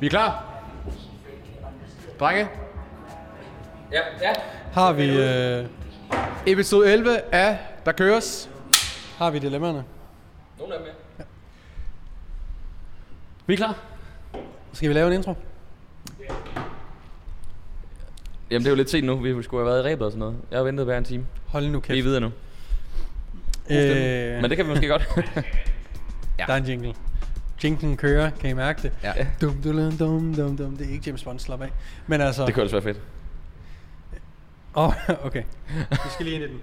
Vi er klar? Drenge, Ja, ja. Har vi, øh, episode 11 af Der Køres. har vi dilemmaerne? Nogle af dem er. Vi er klar. Skal vi lave en intro? Jamen, det er jo lidt sent nu. Vi skulle have været i rebet og sådan noget. Jeg har ventet hver en time. Hold nu Vi er kæft. videre nu. Øh, Men det kan vi måske godt. Der er en jingle. Jinglen kører, kan I mærke det? Ja. Dum, dum, dum, dum, dum. Det er ikke James Bond, slap af. Men altså... det kunne også være fedt. Åh, oh, okay. Vi skal lige ind i den.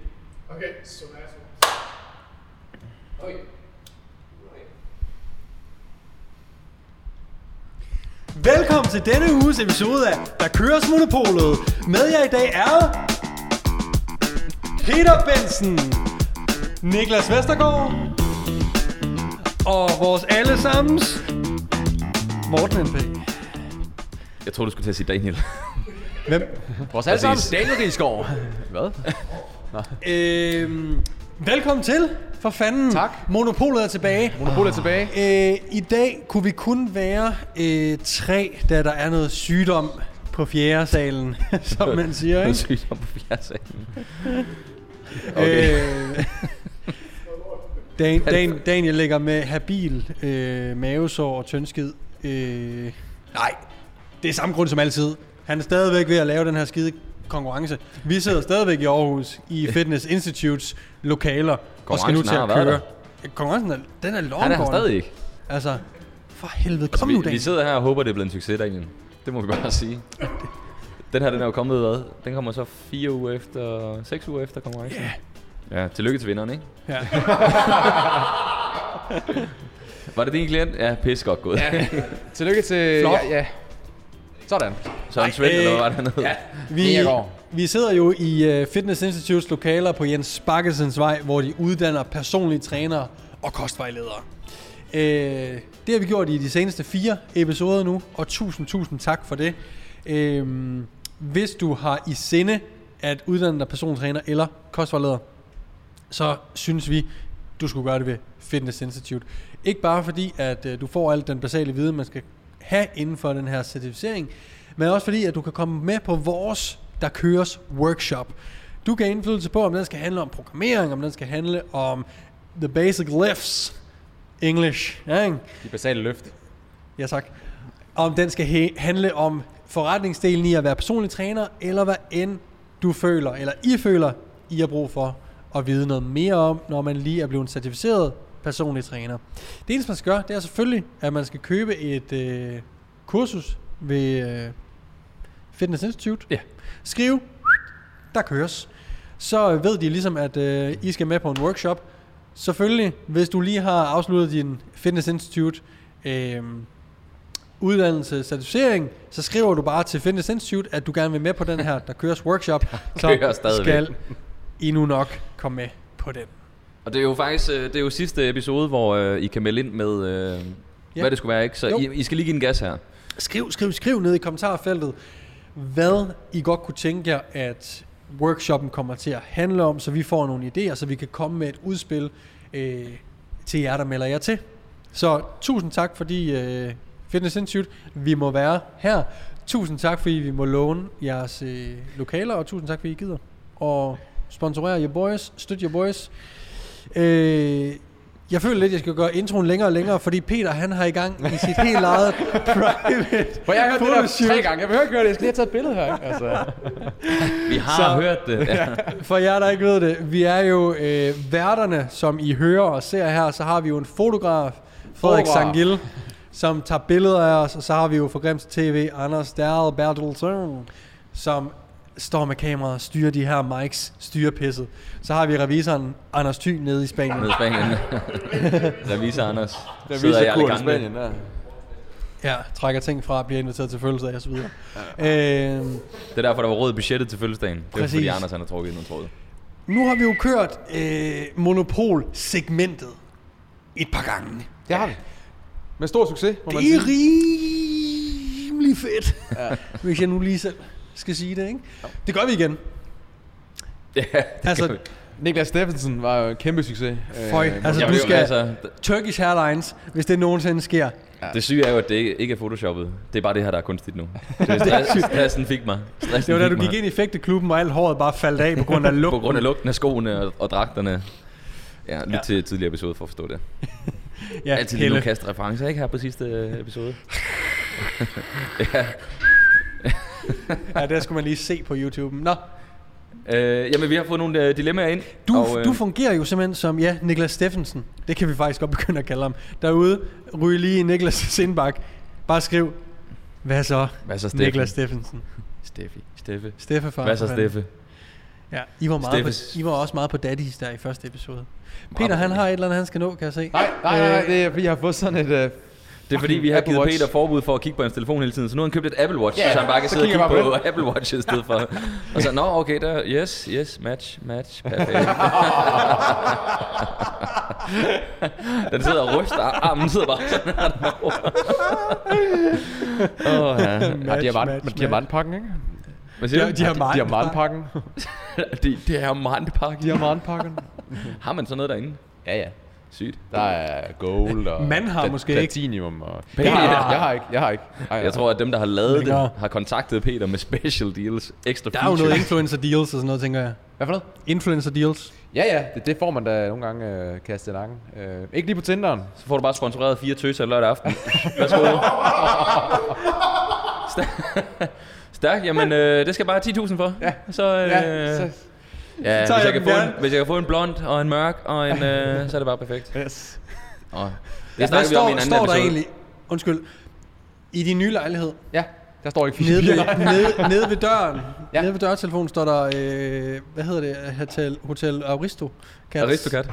Okay, so that's Velkommen til denne uges episode af Der køres monopolet. Med jer i dag er... Peter Bensen, Niklas Vestergaard og vores allesammens Morten N.P. Jeg tror du skulle til at sige Daniel. Hvem? Vores alle sammen. Præcis. Daniel Rigsgaard. Hvad? Øhm, velkommen til, for fanden. Tak. Monopolet er tilbage. Monopolet er tilbage. Øh, I dag kunne vi kun være øh, tre, da der er noget sygdom på fjerde salen, som man siger, Det er ikke? sygt om på fjerdsalen. Okay. Øh, Dan, Dan, Daniel ligger med habil øh, mavesår og tyndskid. Øh, nej, det er samme grund som altid. Han er stadigvæk ved at lave den her skide konkurrence. Vi sidder stadigvæk i Aarhus i Fitness Institutes lokaler og skal nu til Konkurrencen har været at køre. Konkurrencen er, den er Han er her lovgående. stadig ikke. Altså, for helvede, kom nu, Vi, vi Daniel. sidder her og håber, det er blevet en succes, Daniel. Det må vi bare sige. Den her, den er jo kommet hvad? Den kommer så fire uger efter, seks uger efter konkurrencen. Ja. Ja, tillykke til vinderen, ikke? Ja. Var det din klient? Ja, pis godt gået. Ja. Tillykke til... Flot. Ja, ja. Sådan. så en Ej, Svend, eller øh. hvad var det hernede? Ja. Vi, Ingergaard. vi sidder jo i uh, Fitness Institutes lokaler på Jens Bakkesens vej, hvor de uddanner personlige trænere og kostvejledere. Uh, det har vi gjort i de seneste fire episoder nu, og tusind, tusind tak for det. Uh, hvis du har i sinde at uddanne dig personlig træner eller kostvejleder, så synes vi, du skulle gøre det ved Fitness Institute. Ikke bare fordi, at øh, du får alt den basale viden, man skal have inden for den her certificering, men også fordi, at du kan komme med på vores, der køres workshop. Du kan have indflydelse på, om den skal handle om programmering, om den skal handle om the basic lifts, English, ja, ikke? De basale løft. Ja, tak. Om den skal he- handle om forretningsdelen i at være personlig træner, eller hvad end du føler, eller I føler, I har brug for at vide noget mere om, når man lige er blevet en certificeret personlig træner. Det eneste, man skal gøre, det er selvfølgelig, at man skal købe et øh, kursus ved øh, Fitness Institute. Ja. Skriv, der køres. Så ved de ligesom, at øh, I skal med på en workshop. Selvfølgelig, hvis du lige har afsluttet din Fitness Institute øh, uddannelse, certificering, så skriver du bare til Fitness Institute, at du gerne vil med på den her, der køres workshop. Så kører stadigvæk. skal I nu nok komme med på den. Og det er jo faktisk øh, det er jo sidste episode, hvor øh, I kan melde ind med, øh, Ja. hvad det skulle være, ikke? Så Jo. I, I skal lige give en gas her. Skriv, skriv, skriv ned i kommentarfeltet, hvad I godt kunne tænke jer, at workshoppen kommer til at handle om, så vi får nogle idéer, så vi kan komme med et udspil øh, til jer, der melder jer til. Så tusind tak, fordi øh, Fitness Institute, vi må være her. Tusind tak, fordi vi må låne jeres øh, lokaler, og tusind tak, fordi I gider. Og sponsorere your boys, støt your boys. Øh, jeg føler lidt, jeg skal gøre introen længere og længere, fordi Peter han har i gang i sit helt eget private For jeg har hørt det der photoshoot. tre gange. Jeg behøver ikke høre det. Jeg skal lige have taget et billede her. ikke? Altså. Vi har Så- så. hørt det. Ja. For jer, der ikke ved det, vi er jo øh, værterne, som I hører og ser her, så har vi jo en fotograf, Frederik Fotograf. Sangil, som tager billeder af os, og så har vi jo for Grims TV, Anders Dahl Bertelsen, som står med kameraet og styrer de her mics, styrer pisset. Så har vi revisoren Anders Thyn nede i Spanien. Nede i Spanien. Revisor Anders. Der viser kurven i Spanien der. Ja, trækker ting fra, bliver inviteret til fødselsdag og så videre. Øh, Det er derfor, der var råd i budgettet til fødselsdagen. Det er jo Præcis. fordi Anders han har trukket nogle tråde. nu har vi jo kørt øh, monopol-segmentet et par gange. Det har vi. Med stor succes, må man Det er sige. rimelig fedt, ja. hvis jeg nu lige selv skal sige det, ikke? Det gør vi igen. Ja, Altså, Niklas Steffensen var jo en kæmpe succes. Øh, Føj, altså, jeg du blev- skal- Altså, d- Turkish Airlines, hvis det nogensinde sker, Ja. Det syge er jo, at det ikke ikke er photoshoppet. Det er bare det her, der er kunstigt nu. Det er stress, stressen fik mig. Stressen Det var da fik du mig. gik ind i fægteklubben, og alt håret bare faldt af på grund af På lugten. grund af lugten af skoene og, og dragterne. Ja, lyt Ja. ja. til tidligere episode for at forstå det. ja, Altid lige Helle. nogle kaste referencer, ikke her på sidste øh, episode. Ja, der skulle man lige se på YouTube. Nå, Øh, jamen, vi har fået nogle øh, dilemmaer ind. du, og, øh... du fungerer jo simpelthen som, ja, Niklas Steffensen. Det kan vi faktisk godt begynde at kalde ham. Derude, ryg lige i Niklas Sindbak. Bare skriv, hvad så, Hvad så, Steffen? Niklas Steffensen? Steffi. Steffe. Steffe for Hvad så, fanden. Steffe? Ja, I var, meget Steffes- på, I var også meget på daddies der i første episode. Peter, Meget han på har et eller andet, han skal nå, kan jeg se. Nej, nej, nej, nej, Øh, det er fordi, jeg har fået sådan et... Øh, Det er fordi, vi har Apple givet Watch. Peter forbud for at kigge på hans telefon hele tiden, så nu har han købt et Apple Watch, Ja, så han bare kan så sidde og kigger kigge jeg på bare Apple Watch i stedet for. Og så, nå, okay, der, yes, yes, match, match, perfekt. den sidder og ryster, armen sidder bare sådan her derovre. Åh, oh, ja. ah, diamant, match, match. diamantpakken, ikke? Hvad siger Ja, du? de har- Diamant- Diamantpakken. Det, det er Marndepark. Diamantpakken. Har man sådan noget derinde? ja, ja. Sygt. Der er gold og... Man har plat- måske ikke. Platinium og... Peter. Jeg har, jeg har ikke, jeg har ikke. Ej, Jeg tror, at dem, der har lavet det, Lækker. har kontaktet Peter med special deals, ekstra Der er jo features. noget influencer deals og sådan noget, tænker jeg. Hvad for noget? Influencer deals. Ja, ja, det, det får man da nogle gange øh, kastet lange. Øh, ikke lige på Tinderen. Så får du bare sponsoreret fire tøser lørdag aften. Værsgo. Stærk. Stærk, jamen øh, det skal bare 10.000 for. Ja. Så, øh, ja, så ja, hvis, tager jeg jeg kan den få en, gerne. hvis jeg kan få en blond og en mørk, og en, øh, så er det bare perfekt. Yes. Og det Hvad snakker vi om i en står, anden står der episode. egentlig, undskyld, i din nye lejlighed, Ja, der står ikke fire nede ved, piger. nede, nede ved døren, ja. Ja. nede ved dørtelefonen står der, øh, hvad hedder det, Hotel, Hotel Aristo. Aristokat.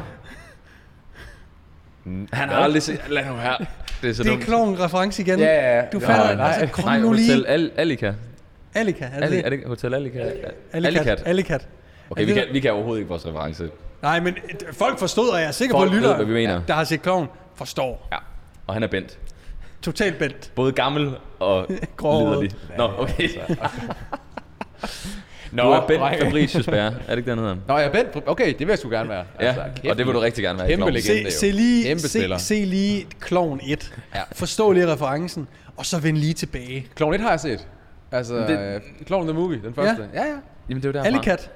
Mm, Han har aldrig set... Lad nu her. Det er så Det er dumt. klovn reference igen. Ja, ja, ja. Du Nå, fatter, nej. altså, kom Nej, nu lige. Hotel Al Alika. Alika, er det Ali, er det? det Hotel Alika? Alicat. Alicat. Okay, vi kan, vi kan overhovedet ikke vores reference. Nej, men øh, folk forstod, og jeg er sikker Folk på, at lytter, ved, hvad vi mener. der har set klovn, forstår. Ja. Og han er Bent. Totalt bent. Både gammel og Gråhåret. liderlig. Nå, okay. Nå, Du er Bent drenge. Fabricius Bær. Er det ikke den, han hedder? Nå, jeg er Bent. Okay, det vil jeg sgu gerne være. Ja, altså, kæft, og det vil du rigtig gerne være. Kæmpe Klovn. legende. Se, jo. se, lige, Kæmpe se, spiller. se lige Klovn 1. Ja. Forstå lige referencen, og så vend lige tilbage. Clown 1 har jeg set. Altså, det- det... Clown the Movie, den første. Ja, ja. Jamen, det er jo derfra. Alicat,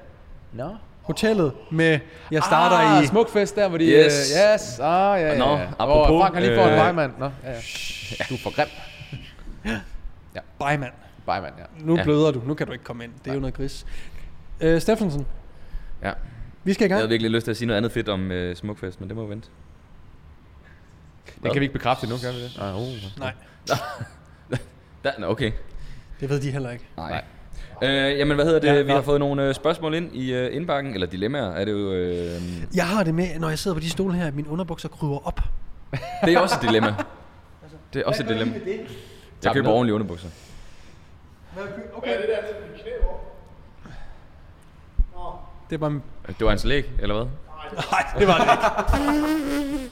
Nå. hotellet med, jeg starter ah, i... Smukfest der, hvor de... Yes. øh, yes. Ah, ja, ja. Nå, ja. Hvor apropos, Frank har lige fået øh, en vejmand. Nå, ja, ja. Du er for grim. Bejman. Vejmand, ja. Nu ja. Ja. bløder du, nu kan du ikke komme ind. Det er jo noget gris. Øh, Steffensen, Ja. vi skal i Jeg gang. havde virkelig lyst til at sige noget andet fedt om øh, Smukfest, men det må vente. Den kan vi ikke bekræfte nu, kan vi det? Ah, uh. Nej, Der, nå, okay. det ved de heller ikke. Nej. Øh, jamen, hvad hedder det? Ja, vi nå. har fået nogle øh, spørgsmål ind i øh, indbakken, eller dilemmaer er det jo. Øh, Jeg har det med, når jeg sidder på de stole her, at mine underbukser kryber op. det er også et dilemma. Det er også et dilemma. Jeg køber ned. ordentlige underbukser. Det er bare... en- Det var hans læg, eller hvad? Nej, det var det ikke.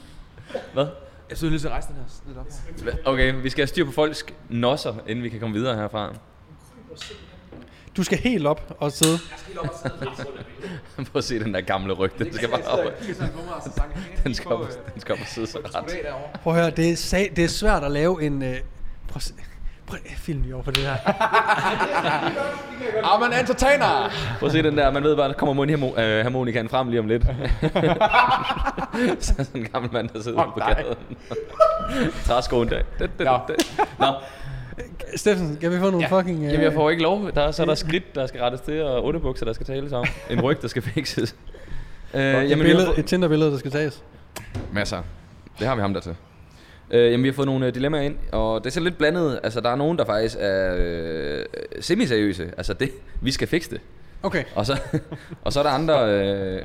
Hvad? Jeg synes lige til resten her. Lidt op. Hva- Okay, vi skal have styr på folks nosser, inden vi kan komme videre herfra. Du skal helt op og sidde. Prøv at se den der gamle ryg, den skal bare op. Den skal øh, op, den skal op og sidde så ret. Prøv at høre, det er, sag, det er svært at lave en... Øh, prøv, at se- prøv, at- film lige over for det her. Ah, man entertainer! Prøv at se den der, man ved bare, der kommer mundharmonikaen frem lige om lidt. så er sådan en gammel mand, der sidder Fuck ude på dig. gaden. Træskoen der. Det, det, Nå. det. Nå. Steffensen, kan vi få nogle ja. fucking... Øh, Jamen, jeg får ikke lov. Der er, så er der skridt, der skal rettes til, og underbukser, der skal tales om. En ryg, der skal fikses. Øh, et, jamen, vi har billede, fået- et Tinder-billede, der skal tages. Masser. Det har vi ham der til. Øh, jamen, vi har fået nogle øh, dilemmaer ind, og det er så lidt blandet. Altså, der er nogen, der faktisk er øh, semiseriøse. Altså, det, vi skal fikse det. Okay. Og så, og så er der andre... Øh,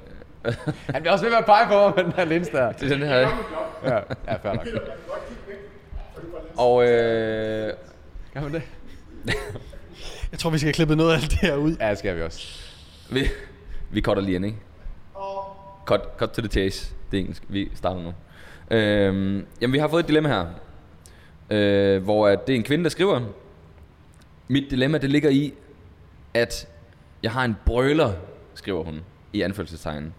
Han bliver også ved med at pege på mig med den her lins der. det er den her, Ja, ja fair nok. og øh, Kan man det? Jeg tror, vi skal have klippet noget af alt det her ud. Ja, det skal vi også. vi, vi cutter lige ind, ikke? Cut, cut to the chase. Det er engelsk. Vi starter nu. Øh, jamen, vi har fået et dilemma her. Øh, hvor at det er en kvinde, der skriver. Mit dilemma, det ligger i, at jeg har en brøler, skriver hun i anførselstegnen.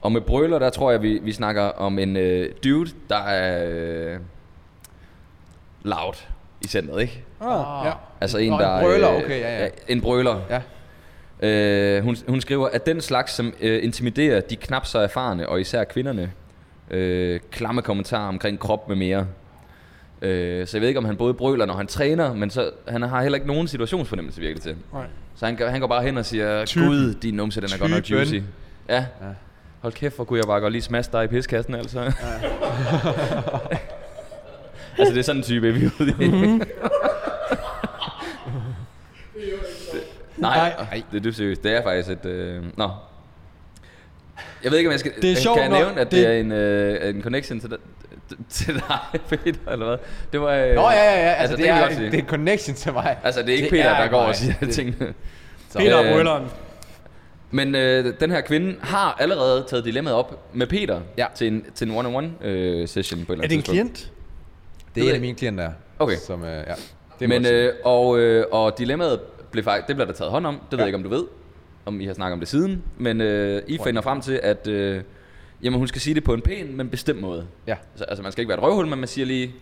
Og med brøler, der tror jeg, vi, vi snakker om en øh, dude, der er... Øh, loud i centret, ikke? Ah, ja. Altså en, Nå, en der... brøler, okay, ja, ja. En brøler. Ja. Øh, hun, hun skriver, at den slags, som øh, intimiderer de knap så erfarne, og især kvinderne, øh, klamme kommentarer omkring krop med mere. Øh, så jeg ved ikke, om han både brøler, når han træner, men så, han har heller ikke nogen situationsfornemmelse virkelig til. Nej. Så han, gør- han går bare hen og siger, Typen. gud, din numse, den er godt nok Typen. juicy. Ja. ja. Hold kæft, hvor kunne jeg bare godt lige smaske dig i piskassen, altså. Ja. altså, det er sådan en type, vi er ude i. Nej, nej, det er dybt seriøst. Det er faktisk et... Øh, nå. Jeg ved ikke, om jeg skal... Det er sjovt kan jeg nok, nævne, at det, det- er en, øh, en connection til, d- til dig, Peter, eller hvad? Det var... Øh, Nå, ja, ja, ja. Altså, altså det, kan jeg er, godt sige. det er en connection til mig. Altså, det er ikke Det Peter, er der går mig. og siger Det- tingene. Så, Peter og Øh, brøleren. Men øh, den her kvinde har allerede taget dilemmaet op med Peter Ja. til en, til en one-on-one øh, session på et eller Er andet det en tidspunkt. klient? det er en af mine klienter, der. Okay. Som, øh, ja. Det er Men, godt. øh, og, øh, og dilemmaet blev faktisk, det blev der taget hånd om. Det ved jeg ikke, om du ved, om I har snakket om det siden. Men øh, I finder frem til, at øh, jamen, hun skal sige det på en pæn, men bestemt måde. ja. Altså, altså man skal ikke være et røvhul, men man siger lige,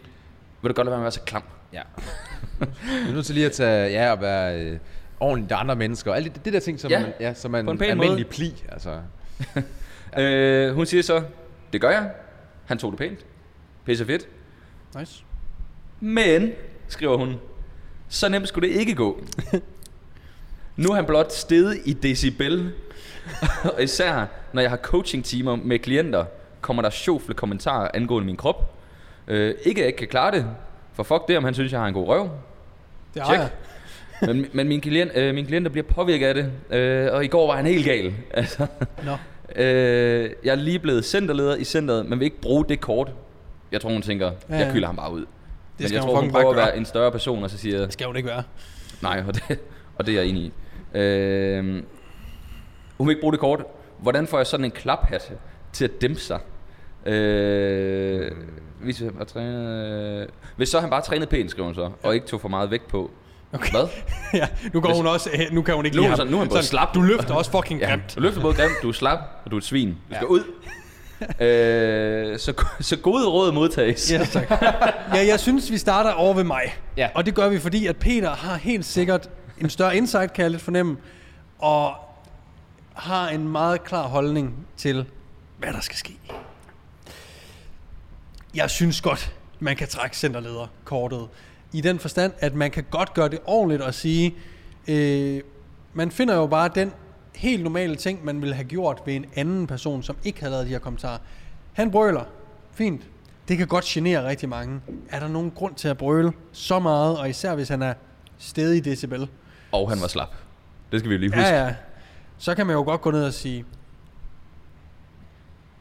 vil du godt lade være med at være så klam? Ja. Vi er nødt til lige at tage, ja, og være øh, ordentligt andre mennesker. Alt det, det der ting, som, Ja. ja. Man, ja, som er en, På en pæn almindelig måde. pli. Altså. Ja. Øh, hun siger så, det gør jeg. Han tog det pænt. Pisse fedt. Nice. Men, skriver hun, så nemt skulle det ikke gå. Nu er han blot steget i decibel. Og især når jeg har coaching-timer med klienter, kommer der sjofle kommentarer angående min krop. Øh, ikke at jeg ikke kan klare det, for fuck det, om han synes, jeg har en god røv. Det Check. har jeg. Men, men mine, klient, øh, mine klienter bliver påvirket af det, øh, og i går var han helt gal. Altså, Nå. øh, jeg er lige blevet centerleder i centeret, men vil ikke bruge det kort. Jeg tror, hun tænker, Ja, ja, ja. jeg kylder ham bare ud. Det men skal jeg hun tror, hun fucking bare prøver at gøre. være en større person, og så siger, Det skal hun ikke være. Nej, og det, og det er jeg enig i. Øh, hun vil ikke bruge det kort. Hvordan får jeg sådan en klaphat til at dæmpe sig? Øh, hvis, jeg har trænet, øh, hvis så han bare trænede pænt, skriver hun så, og ikke tog for meget vægt på. Okay. Hvad? ja, nu går hun også, øh, nu kan hun ikke Nu er hun lide ham. sådan- nu er hun både slap. Du løfter også fucking Ja, grimt. du løfter både grimt, du er slap, og du er et svin. Du skal ud. øh, så, så gode råd modtages. Ja, tak. ja, jeg synes, vi starter over ved mig. Ja. Og det gør vi, fordi at Peter har helt sikkert en større insight, kan jeg lidt fornemme, og har en meget klar holdning til, hvad der skal ske. Jeg synes godt, man kan trække centerlederkortet. I den forstand, at man kan godt gøre det ordentligt og sige, øh, man finder jo bare den helt normale ting, man ville have gjort ved en anden person, som ikke havde lavet de her kommentarer. Han brøler. Fint. Det kan godt genere rigtig mange. Er der nogen grund til at brøle så meget, og især hvis han er stedig i decibel? Og han var slap. Det skal vi jo lige huske. Ja, ja. Så kan man jo godt gå ned og sige,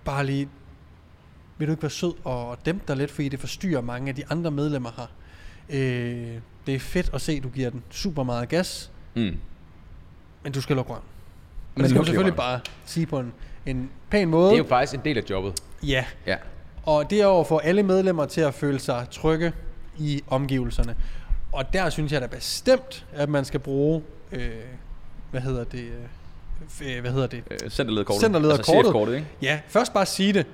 bare lige, vil du ikke være sød og dæmpe dig lidt, fordi det forstyrrer mange af de andre medlemmer her. Øh, det er fedt at se, du giver den super meget gas, Mm. men du skal lukke røven. Men Men det skal luk man selvfølgelig røven. bare sige på en, en pæn måde. Det er jo faktisk en del af jobbet. Ja, Ja. og det er jo at få alle medlemmer til at føle sig trygge i omgivelserne. Og der synes jeg da bestemt, at man skal bruge, øh, hvad hedder det, øh, f- øh, hvad hedder det, Øh, Centerlederkortet. Centerlederkortet. Altså chefkortet, ikke? Ja, først bare sige det.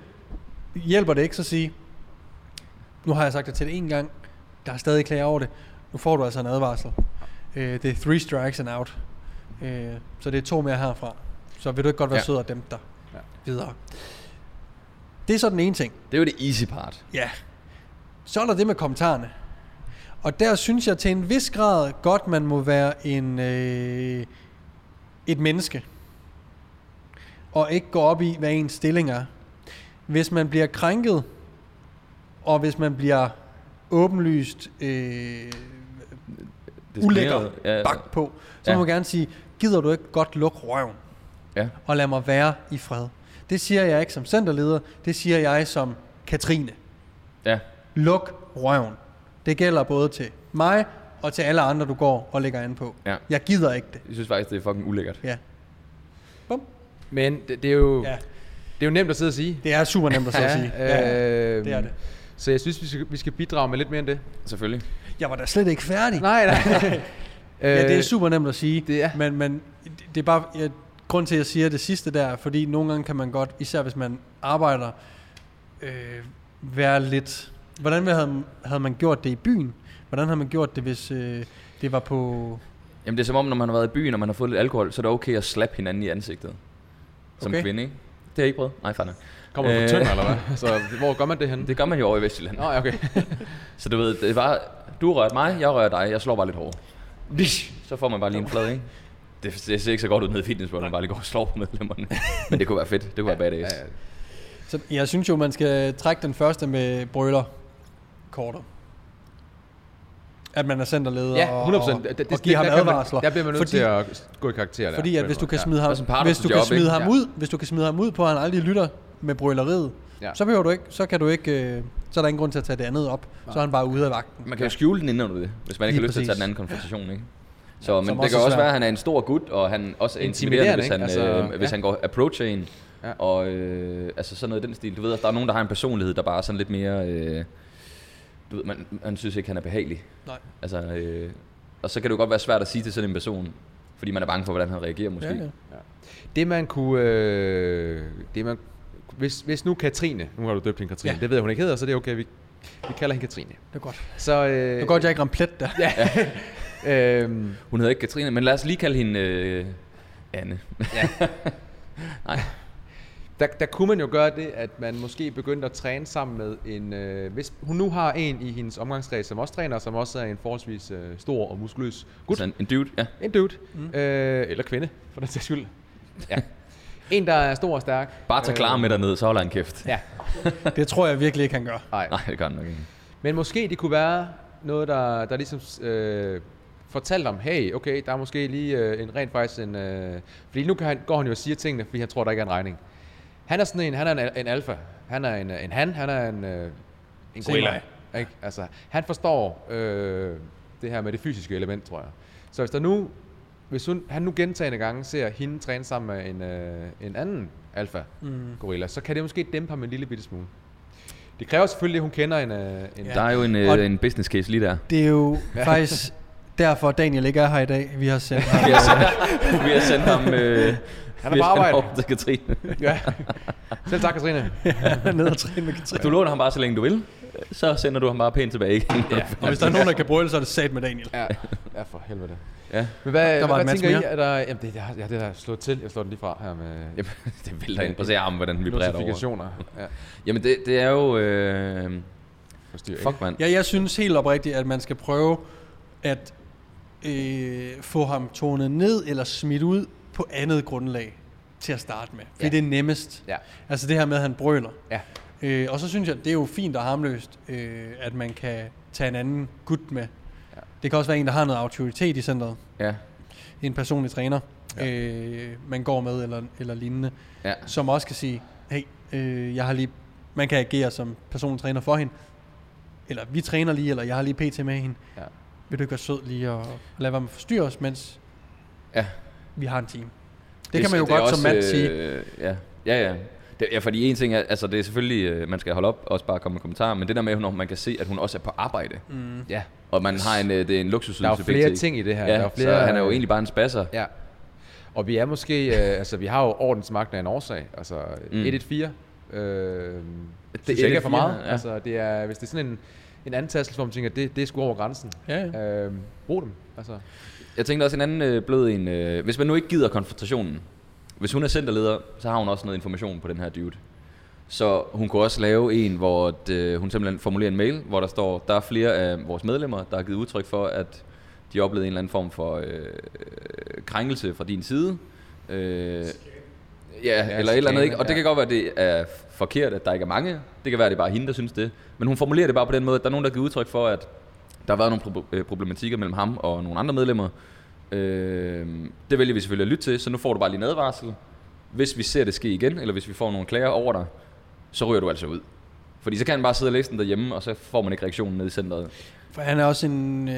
Hjælper det ikke, så sige, nu har jeg sagt det til det en gang, der er stadig klager over det, nu får du altså en advarsel. Øh, det er three strikes and out. Øh, så det er to mere herfra. Så vil du ikke godt være ja. Ja. sød og dæmpe dig ja. Ja. videre. Det er så den ene ting. Det er jo det easy part. Ja. Så er der det med kommentarerne. Og der synes jeg til en vis grad godt, man må være en, øh, et menneske. Og ikke gå op i, hvad ens stilling er. Hvis man bliver krænket, og hvis man bliver åbenlyst øh, ulækker Disciplineret. Ja, ja. bak på, så Ja. må man gerne sige, gider du ikke godt lukke røven? Ja. og lad mig være i fred. Det siger jeg ikke som centerleder, det siger jeg som Katrine. Ja. Luk røven. Det gælder både til mig og til alle andre, du går og lægger an på. Ja. Jeg gider ikke det. Jeg synes faktisk, det er fucking ulækkert. Ja. Bum. Men det, det, er jo, Ja, ja. det er jo nemt at sidde og sige. det er super nemt at så sige. Ja. øh, det er det. Så jeg synes, vi skal, vi skal bidrage med lidt mere end det. Selvfølgelig. Jeg var da slet ikke færdig. Nej, nej. Øh, Ja, det er super nemt at sige, det er- men, men det er bare... Jeg, grund til, at jeg siger det sidste der, er, fordi nogle gange kan man godt, især hvis man arbejder, øh, være lidt Hvordan havde, havde man gjort det i byen? Hvordan havde man gjort det, hvis øh, det var på... Jamen det er som om, når man har været i byen, og man har fået lidt alkohol, så er det okay at slappe hinanden i ansigtet. Som Okay. okay. kvinde, ikke? Det har jeg ikke prøvet. Nej, fanden. Kommer du Øh. fra Tønder, eller hvad? Så hvor gør man det henne? Det gør man jo over i Vestjylland. Nå, ja, okay. Så du ved, det var, du rørte mig, jeg rører dig, jeg slår bare lidt hårdere. Så får man bare lige en flad, ikke? Det, det ser ikke så godt ud nede i fitness, hvor man bare lige går og slår på medlemmerne. Men det kunne være fedt, det kunne være badass. Ja, ja. Så jeg synes jo, man skal trække den første med brøler kortet. At man er centerleder Ja, og, 100 og, Det, det, og give ham der kan man- advarsler. Der bliver man nødt fordi, til at gå i karakter der. Fordi på at en hvis du måde. kan Ja. smide ham, Også en partner hvis til du kan job, smide ikke? ham Ja. ud, hvis du kan smide ham ud på, at han aldrig lytter med brøleriet, Ja. så behøver du ikke, så kan du ikke, øh, så er der ingen grund til at tage det andet op. Så er han bare ude af vagten. Man kan jo skjule den inden under det, hvis man ikke Lige har lyst til at tage præcis. den anden konfrontation, ikke? Så, men som det også kan er også svært. være, at han er en stor gut, og han også er Intimiderende, intimiderende, hvis han, ikke? Altså, altså, øh, hvis ja. han går approacher en. Ja. Ja. Og øh, altså sådan noget i den stil. Du ved, at der er nogen, der har en personlighed, der bare er sådan lidt mere... Øh, du ved, man, man synes ikke, han er behagelig. Nej. Altså, øh, og så kan det jo godt være svært at sige til sådan en person, fordi man er bange for, hvordan han reagerer måske. Ja, ja. Det man kunne... Øh, det man, hvis, hvis nu Katrine... Nu har du døbt hende Katrine. Ja. Ja. Det ved jeg, hun ikke hedder, så det er okay. Vi, vi kalder hende Katrine. Det er godt. Så, øh, Det er godt, jeg ikke ramte plet der. Ja. Øh, Hun hedder ikke Katrine, men lad os lige kalde hende øh, Anne. der, der kunne man jo gøre det, at man måske begyndte at træne sammen med en... Øh, hvis hun nu har en i hendes omgangskreds, som også træner, som også er en forholdsvis øh, stor og muskuløs gut. Altså en, en dude, ja. En dude. Mm. Øh, eller kvinde, for den sags skyld. Ja. en, der er stor og stærk. Øh, Bare Øh. tag klar med dernede, så holder han kæft. Ja. Det tror jeg virkelig ikke, han gør. Nej. Nej, det gør han nok ikke. Men måske det kunne være noget, der, der ligesom øh, fortalte om, hey, okay, der er måske lige øh, en rent faktisk en... Øh, fordi nu kan han, går han jo og siger tingene, fordi han tror, der ikke er en regning. Han er sådan en, han er en, al- en alfa. Han er en, øh, en han, han er en, øh, en Se gorilla. mig. Ikke? Altså, han forstår øh, det her med det fysiske element, tror jeg. Så hvis der nu, hvis hun, han nu gentagende gange ser hende træne sammen med en, øh, en anden alfa gorilla, så kan det måske dæmpe ham en lille bitte smule. Det kræver selvfølgelig, at hun kender en, øh, en Ja. Der er jo en, Og- øh, en business case lige der. Det er jo faktisk derfor, Daniel ikke er her i dag. Vi har sendt ham. Vi har sendt, vi har sendt ham... Øh, på vi har sendt ham arbejde. over til Katrine. Ja. Selv tak, Katrine. ja, ned og træne med Katrine. Du låner ham bare, så længe du vil. Så sender du ham bare pænt tilbage igen. Ja. Og hvis der er nogen, der kan brøle, så er det sat med Daniel. Ja, ja for helvede. ja. Men hvad, hvad, Der var en hvad match tænker I? mere. Er der, jamen, det, jeg, ja, det der er slået til. Jeg slår den lige fra her med Jamen, det vælter ind. Prøv at se armen, hvordan vi bræder over. notifikationer. Ja, Jamen, det, det er jo... Øh, forstyrrer, fuck, mand. Ja, jeg synes helt oprigtigt, at man skal prøve at øh, få ham tonet ned eller smidt ud på andet grundlag til at starte med. Fordi ja. Ja. det er nemmest. Ja. Altså det her med, at han brøler. Ja. Øh, og så synes jeg, det er jo fint og harmløst, øh, at man kan tage en anden gut med. Ja. Det kan også være en, der har noget autoritet i centret. Ja. En personlig træner, ja. øh, man går med eller, eller lignende. Ja. Som også kan sige, hey, øh, jeg har lige, man kan agere som personlig træner for hende. Eller vi træner lige, eller jeg har lige pt med hende. Ja. Vil du ikke være sød lige og lade være med at forstyrre os, mens Ja. vi har en time? Det, det kan man jo godt også, som mand sige. Øh, ja, ja, ja. Det, ja, fordi en ting er, altså det er selvfølgelig, øh, man skal holde op, også bare komme med kommentarer, men det der med, når man kan se, at hun også er på arbejde, mm. Ja. og man har en, øh, det er en Der er luksusydelse. jo begge flere ting i det her. Ja, der er jo flere, så han er jo egentlig bare en spasser. Ja. Og vi er måske... Øh, altså, vi har jo ordensmagten af en årsag. Altså, mm. 114. Øh, det synes jeg ikke er for 114, meget. ja. Altså, det er, hvis det er sådan en, en antastel, hvor man tænker, det, det er sgu over grænsen. Ja, Øh, brug dem. Altså, Jeg tænkte også en anden øh, blød en. Øh, hvis man nu ikke gider konfrontationen. Hvis hun er centerleder, så har hun også noget information på den her dude. Så hun kunne også lave en, hvor at, øh, hun simpelthen formulerer en mail, hvor der står, der er flere af vores medlemmer, der har givet udtryk for, at de oplevede en eller anden form for øh, øh, krænkelse fra din side. Øh, Ja, ja, eller et eller andet, chikane, ikke? Og det ja. kan godt være, at det er forkert, at der ikke er mange. Det kan være, at det er bare hende, der synes det. Men hun formulerer det bare på den måde, at der er nogen, der giver udtryk for, at der har været nogle prob- øh, problematikker mellem ham og nogle andre medlemmer. Øh, det vælger vi selvfølgelig at lytte til, så nu får du bare lige en advarsel. Hvis vi ser det ske igen, eller hvis vi får nogle klager over dig, så ryger du altså ud. Fordi så kan han bare sidde og læse den derhjemme, og så får man ikke reaktionen nede i centret. For han er også en, øh,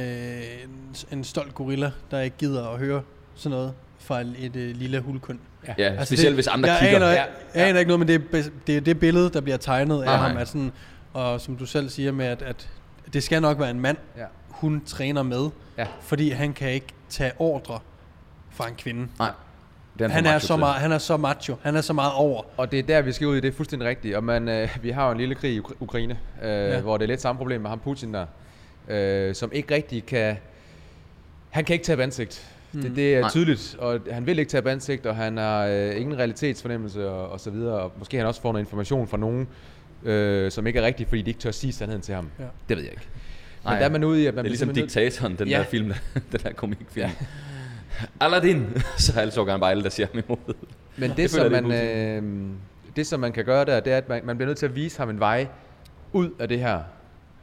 en, en stolt gorilla, der ikke gider at høre sådan noget fra et, et øh, lille hulkund. Ja, ja specielt Altså, det, hvis andre jeg kigger. Aner, ja. jeg, jeg aner ikke noget, men det er, bes- det er det billede, der bliver tegnet Nej, af ham. nej. At sådan, og som du selv siger med, at, at det skal nok være en mand, Ja. hun træner med. Ja. Fordi han kan ikke tage ordre fra en kvinde. Nej. Det er Han er, macho så til. meget, han er så macho. Han er så meget over. Og det er der, vi skal ud i, det er fuldstændig rigtigt. Og man, øh, vi har jo en lille krig i Ukra- Ukraine, øh, ja. hvor det er lidt samme problem med ham Putin der, øh, som ikke rigtig kan... Han kan ikke tabe ansigt. Mm. Det, det er Nej. tydeligt, og han vil ikke tabe ansigt, og han har øh, ingen realitetsfornemmelse og, og så videre. Og måske han også får noget information fra nogen, øh, som ikke er rigtig, fordi de ikke tør sige sandheden til ham. Ja. Ja. Det ved jeg ikke. Men Nej, der er man ude i, at man Det er bliver ligesom simpelthen nødt- Diktatoren, den Ja. der film, der- den der komikfilm. Aladdin! så er altså gerne bare alle, der siger ham imod. Men det, Det som føler jeg, man, det øh, det, som man kan gøre der, det er, at man, man bliver nødt til at vise ham en vej ud af det her,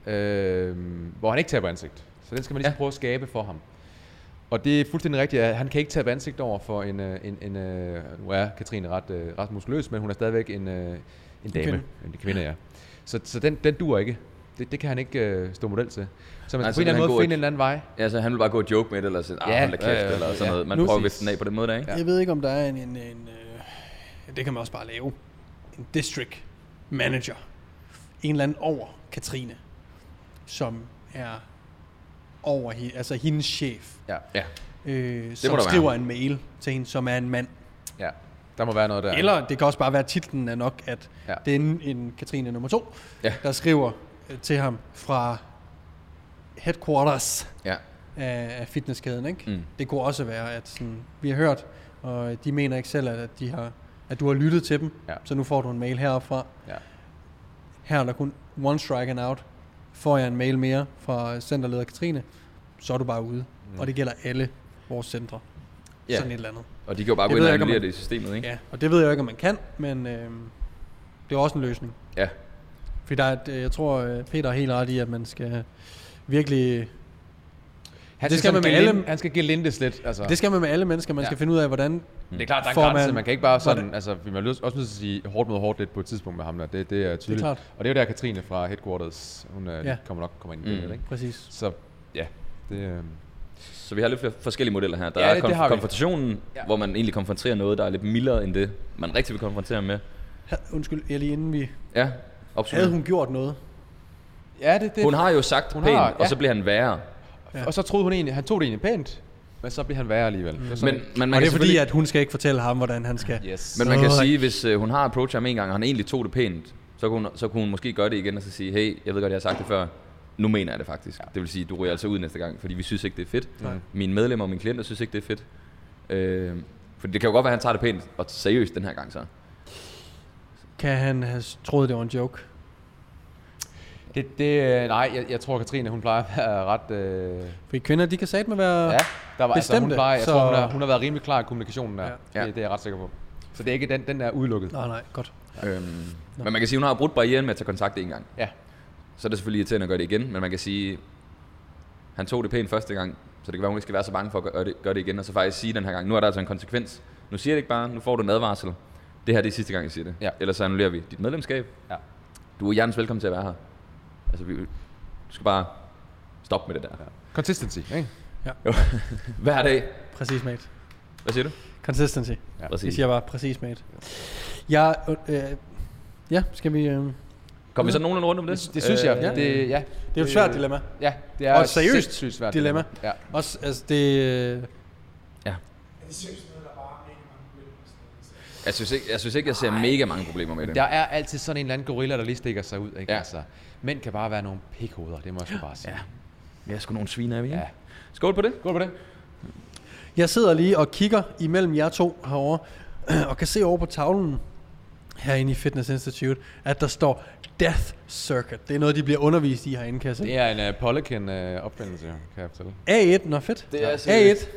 øh, hvor han ikke taber ansigt. Så den skal man lige ja. prøve at skabe for ham. Og det er fuldstændig rigtigt, at han kan ikke tabe ansigt over for en... øh, en, en øh, nu er Katrine ret, øh, ret muskuløs, men hun er stadigvæk en, øh, en dame. kvinde. En kvinde, kvinde ja. Så, så den, den dur ikke. Det, det kan han ikke øh, stå model til. Så man Nej, skal på en så eller vil han anden gå måde finde et- en anden vej. Ja, så han vil bare gå og joke med det, eller sådan, Ja, ah, hold da kæft, ja, ja, eller sådan ja. noget. Man Nu- prøver at vifte den af på den måde der, ikke? Ja. Jeg ved ikke, om der er en... en, en øh, det kan man også bare lave. En district manager. En eller anden over Katrine, som er over he, altså hendes chef, Ja. Ja. øh, som må der skriver være. en mail til hende, som er en mand. ja. Der må være noget der. Eller det kan også bare være, at titlen er nok, at ja. Ja. det er en, en Katrine nummer to, ja. Ja. der skriver øh, til ham fra headquarters Ja. af af fitnesskæden, ikke? Mm. Mm. Det kunne også være, at sådan, vi har hørt, og de mener ikke selv, at, de har, at du har lyttet til dem, ja. Ja. så nu får du en mail heroppe fra. Ja. Her er der kun one strike and out. Får jeg en mail mere fra centerleder Katrine, så er du bare ude. Mm. Og det gælder alle vores centre. Ja. Sådan et eller andet. Og de kan jo bare gå Det ved ind og jeg ikke, om annullere man- det i systemet, ikke? Ja, og det ved jeg jo ikke, om man kan, men øh, det er også en løsning. Ja. Fordi der er, et, øh, jeg tror, øh, Peter har helt ret i, at man skal virkelig... han det skal man sådan med alle- gelinde- Han skal gelindes lidt. Altså. Det skal man med alle mennesker. Man Ja. skal finde ud af, hvordan... Det er klart, der er en Får grænse. man- Man kan ikke bare Var det- sådan, altså, vi er nødt- også nødt til at sige hårdt mod hårdt lidt på et tidspunkt med ham der. Det, det er tydeligt. klart. Og det er jo der, Katrine fra Headquarters, hun Ja. ja. kommer nok kommer ind i det, Mm. lidt, ikke? Præcis. Så ja, det, øh, Så vi har lidt flere forskellige modeller her. Der Ja, er det- konf- det har vi. konfrontationen, Ja. hvor man egentlig konfronterer noget, der er lidt mildere end det, man rigtig vil konfrontere med. Ha- Undskyld, jeg lige inden vi... Ja, Havde absolut. Hun, hun gjort noget? ja det, det. hun har jo sagt Hun pænt, har- og ja. så bliver han værre. ja. Og så troede hun egentlig, han tog det egentlig pænt, men så blev han værre alligevel. Mm. Men, men Man og man det kan er fordi, selvfølgelig... at hun skal ikke fortælle ham, hvordan han skal... yes. Men man kan Sådan. sige, hvis øh, hun har approachet ham en gang, og han egentlig tog det pænt, så kunne, hun, så kunne hun måske gøre det igen og så sige, hey, jeg ved godt, jeg har sagt det før, nu mener jeg det faktisk. Ja. Det vil sige, du ryger altså ud næste gang, fordi vi synes ikke, det er fedt. Nej. Mine medlemmer og mine klienter synes ikke, det er fedt. Øh, for det kan jo godt være, at han tager det pænt og seriøst den her gang så. Kan han have s- troet, det var en joke? det, det, øh, nej, jeg, jeg tror, Katrine, hun plejer at være ret... Øh, Fordi kvinder, de kan satme være... ja, der var, altså, hun Bestemte, plejer, jeg så- så... tror, hun, er, hun har været rimelig klar i kommunikationen der. Ja. Ja. Det, det, er jeg ret sikker på. Så det er ikke den, den er udelukket. Nej, nej, godt. Øhm, men man kan sige, at hun har brudt barrieren med at tage kontakt en gang. Ja. Så er det selvfølgelig irriterende at gøre det igen, men man kan sige, han tog det pænt første gang, så det kan være, hun ikke skal være så bange for at gøre det, gøre det igen, og så faktisk sige den her gang, nu er der altså en konsekvens. Nu siger jeg det ikke bare, nu får du en advarsel. Det her det er sidste gang, jeg siger det. Ja. Ellers så annullerer vi dit medlemskab. Ja. Du er hjertens velkommen til at være her. Altså, vi, du skal bare stoppe med det der. Consistency, ikke? Hver dag. Præcis, mate. Hvad siger du? Consistency. Ja, Det Præcis. siger jeg bare. Præcis, mate. Jeg... Øh, ja, skal vi... Øh, Kom vi så nogenlunde rundt om det? Det, det synes jeg. Øh, Ja. Det, ja. det er jo et svært dilemma. Ja, det er Og et seriøst sindssygt svært dilemma. Ja. Også, altså, det... Øh, Ja. Jeg synes ikke, jeg, synes ikke, jeg ser mega mange problemer med det. Der er altid sådan en eller anden gorilla, der lige stikker sig ud. Ikke? Ja. Ja. Altså, mænd kan bare være nogle pikhoveder, det må jeg sgu bare sige. Ja. Vi er sgu nogle sviner, er vi ikke? Ja. Skål på det. Godt på det. Jeg sidder lige og kigger imellem jer to herovre, og kan se over på tavlen herinde i Fitness Institute, at der står Death Circuit. Det er noget, de bliver undervist i herinde, kan jeg se. Det er en uh, Polican-opfindelse, kan jeg fortælle. A1, nå fedt. Det er A1. seriøst.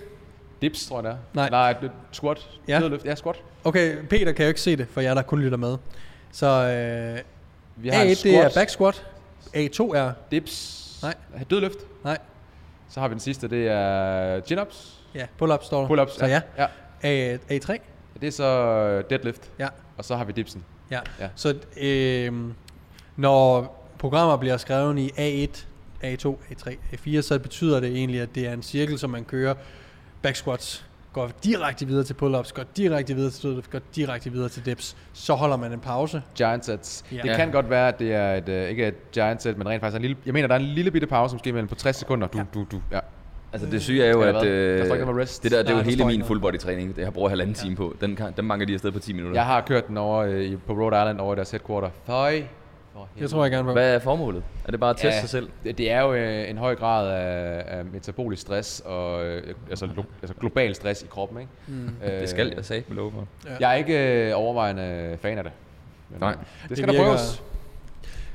Dips, tror jeg, det er. Nej. Nej, det er squat. Ja. Ja. Nødløft. Ja, squat. Okay, Peter kan jo ikke se det, for jeg der kun lytter med. Så øh, Vi en A1, det er back squat. A2 er... Dips. Nej. Dødløft. Nej, Så har vi den sidste, det er øh, chin-ups. ja, pull-up står der. Pull-ups. Så ja. ja. A, A3, Det er så øh, deadlift. ja. Og så har vi dipsen. Ja. ja. Ja. Så øh, når programmer bliver skrevet i A1, A2, A3, A4, så betyder det egentlig, at det er en cirkel, som man kører back squats, går direkte videre til pull-ups, går direkte videre til dødløft, går direkte videre til dips. Så holder man en pause. Giant sets. Ja. Ja. Det Ja. kan godt være, at det er et, øh, ikke et giant set, men rent faktisk er en lille... Jeg mener, der er en lille bitte pause, måske mellem på 60 sekunder. Du, ja. du, du. Ja. Altså det syge er jo, Eller hvad? at øh, Der står ikke noget med rest. det der, det er Nej, jo der hele står min ikke noget. full body træning. Det jeg bruger halvanden time på. Den, kan, den manker de afsted på 10 minutter. Jeg har kørt den over øh, i- på Rhode Island over i deres headquarter. Føj. for Det tror jeg gerne på. Hvad er formålet? Er det bare at teste sig selv? Det, det er jo øh, en høj grad af, af metabolisk stress og øh, altså, lo, altså global stress i kroppen, ikke? Mm. Øh, Det skal jeg sagde love for. Jeg er ikke øh, overvejende fan af det. Men, Nej. øh, Det Det skal det der virker- prøves.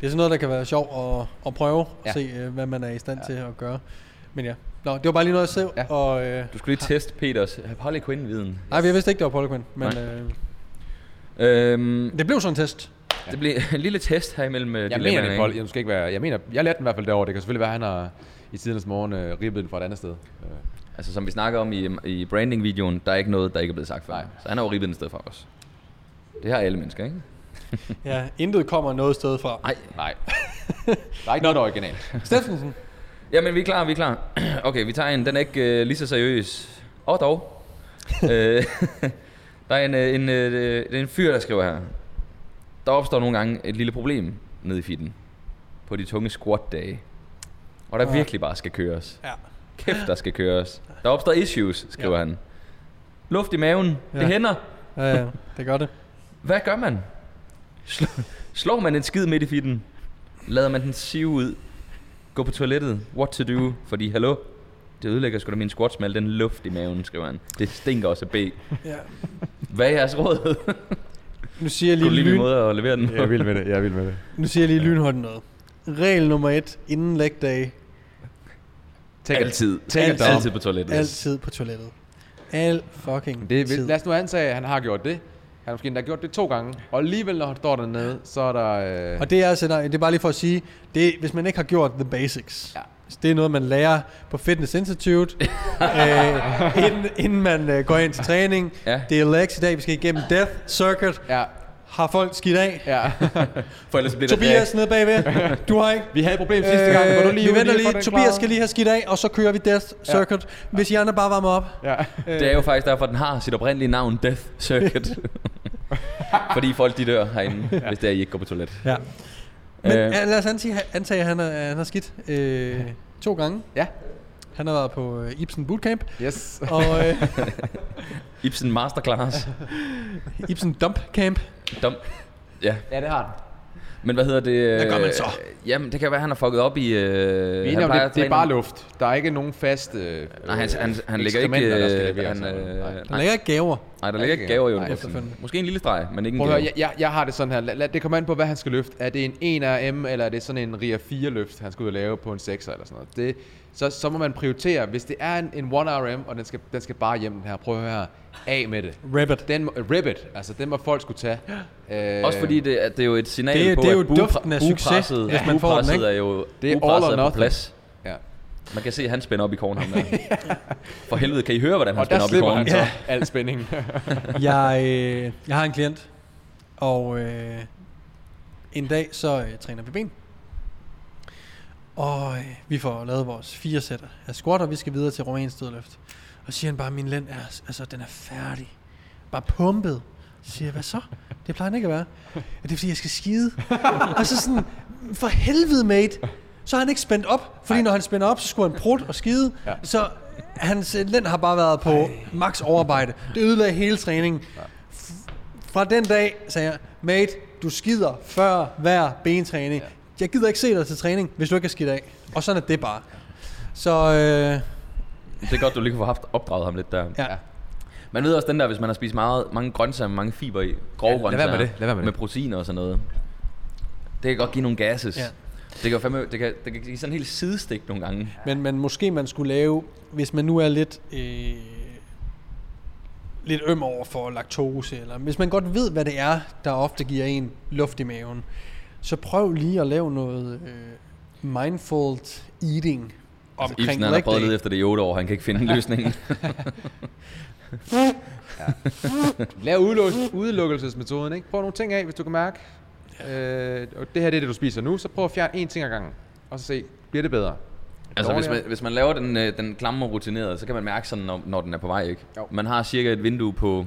Det er sådan noget, der kan være sjovt at, at prøve, ja. Ja. at se, øh, hvad man er i stand ja. til at gøre. Men ja, Nå, det var bare lige noget, jeg så, Ja. ja. og... Øh, Du skulle lige teste Peters Harley Quinn-viden. nej, jeg vidste ikke, det var Paul Quinn, men Nej. øh, Øhm, det blev sådan en test. det blev en lille test her imellem øh, Jeg dilemmaerne, mener det, ikke? Paul. Jeg, skal ikke være, jeg mener, jeg lærte den i hvert fald derovre. Det kan selvfølgelig være, at han har i tidens morgen øh, ribbet den fra et andet sted. Øh, Altså som vi snakker om i, i branding-videoen, der er ikke noget, der ikke er blevet sagt før. Nej. Så han har jo ribbet den sted fra os. Det har alle mennesker, ikke? Ja, intet kommer noget sted fra. Nej. nej. Der er ikke noget der er originalt. Steffensen, Jamen, vi er klar, vi er klar. Okay, vi tager en. Den er ikke øh, lige så seriøs. Og dog. øh, der er en, øh, en, øh, det er en fyr, der skriver her. Der opstår nogle gange et lille problem nede i fitten. På de tunge squat-dage. Og der Ja. virkelig bare skal køres. ja. Kæft, der skal køres. Der opstår issues, skriver Ja. ja. han. Luft i maven. Ja. Ja. Det hænder. Ja, ja, det gør det. Hvad gør man? Slå, slår man en skid midt i fitten? Lader man den sive ud? Gå på toilettet? What to do? Fordi, hallo? Det ødelægger sgu da min squats med al den luft i maven, skriver han. Det stinker også af B. Ja. Hvad er jeres råd? Nu siger jeg Kunne lige, lige min lyn, måde at levere den på? vild med det. Jeg er vild med det. nu siger jeg lige lynhånden noget. Regel nummer et, inden lægdag, Take Altid. Take Altid. altid. Altid på toilettet. altid på toilettet. Al fucking Det, tid. vil- lad os nu antage, at han har gjort det. Han har måske endda gjort det to gange. Og alligevel, når han står dernede, så er der... Øh, Og det er altså, det er bare lige for at sige, det, hvis man ikke har gjort the basics, Ja. så det er noget, man lærer på Fitness Institute, øh, inden, inden man øh, går ind til træning. Ja. Det er legs i dag, vi skal igennem Death Circuit. ja, Har folk skidt af? ja. For ellers bliver Tobias det nede bagved, du har ikke... Øh, Vi havde et problem sidste gang. Var du Øh, lige vi ude venter at få lige. den Tobias klaret? skal lige have skidt af, og så kører vi Death Circuit. Hvis I andre bare varmer op. Ja. Det er jo faktisk derfor, den har sit oprindelige navn, Death Circuit. Fordi folk de dør herinde, hvis det er, I ikke går på toilettet. Ja. Men Øh. øh. lad os antage, antage at han har, han har skidt øh, to gange. Ja. Han har været på øh, Ibsen Bootcamp. Yes. Og øh, Ibsen Masterclass. Ibsen Dump Camp. Dom. Ja, Ja, det har han. Men hvad hedder det? Hvad gør man så? øh, Jamen, det kan være, han har fucket op i... Øh, Vi er han enige om, plejer at det, det er træne- bare luft. Der er ikke nogen fast... Øh, Nej, han, han, han ligger ekskrementer, der skal ikke... Øh, leveres han, eller øh, noget. Nej. Der nej, ligger ikke gaver. Nej, nej, der ligger ikke ikke gaver i engang. Nej, underbuksen. efterfølgende. Måske en lille streg, men ikke en Prøv at høre, gave. jeg, jeg, jeg har det sådan her. Lad, lad, det kommer an på, hvad han skal løfte. Er det en 1RM, eller er det sådan en RIA 4-løft, han skal ud og lave på en 6'er eller sådan noget? Det, så, så må man prioritere. Hvis det er en, en 1RM, og den skal, den skal bare hjem den her, prøv at høre her. Af med det. Rabbit. Den, må- ribbet, altså den må folk skulle tage. Øh, Også fordi det, at det er jo et signal Det er- på, det er jo at bugpre- duften af succes, bugpresset- hvis man får den, bugpresset ikke? er jo Det er all bugpresset or på nothing. plads. Ja. Man kan se, at han spænder op i korn, ham der. For helvede, kan I høre, hvordan han Og der spænder op i slipper korn? han så Ja. al spænding. Jeg, øh, jeg har en klient, og øh, en dag så øh, træner vi ben. Og øh, vi får lavet vores fire sætter af squat, og vi skal videre til romansk dødløft. Og siger han bare, at min lænd er, altså, den er færdig. Bare pumpet. Så siger jeg, hvad så? Det plejer den ikke at være. Ja, det er fordi, jeg skal skide. og så sådan, for helvede, mate. Så er han ikke spændt op, fordi Ej. når han spænder op, så skulle han prut og skide. Ja. Så hans øh, lænd har bare været på Ej. max overarbejde. Det ødelagde hele træningen. Fra den dag sagde jeg, mate, du skider før hver bentræning. Ja. Jeg gider ikke se dig til træning, hvis du ikke er skidt af. Og sådan er det bare. Så øh, Det er godt, du lige kunne have haft opdraget ham lidt der. ja. Man ved også den der, hvis man har spist meget, mange grøntsager med mange fiber i, grove Ja, lad være grøntsager, med det, lad være med det. med proteiner og sådan noget. Det kan godt give nogle gases. Ja. Ja. Det kan, jo fandme, det, kan, det kan give sådan en helt sidestik nogle gange. Men, men måske man skulle lave, hvis man nu er lidt, øh, lidt øm over for laktose, eller hvis man godt ved, hvad det er, der ofte giver en luft i maven, så prøv lige at lave noget øh, mindful eating Altså, omkring Ibsen han har leg prøvet at day. lede efter det i 8 år, han kan ikke finde en løsning. Lav udelukkes- udelukkelsesmetoden, ikke? Prøv nogle ting af, hvis du kan mærke. Øh, og det her det er det, du spiser nu, så prøv at fjerne én ting ad gangen. Og så se, bliver det bedre? altså, hvis man, Dårligere? hvis man laver den, øh, den klamme og rutineret, så kan man mærke sådan, når, når den er på vej, ikke? Jo. Man har cirka et vindue på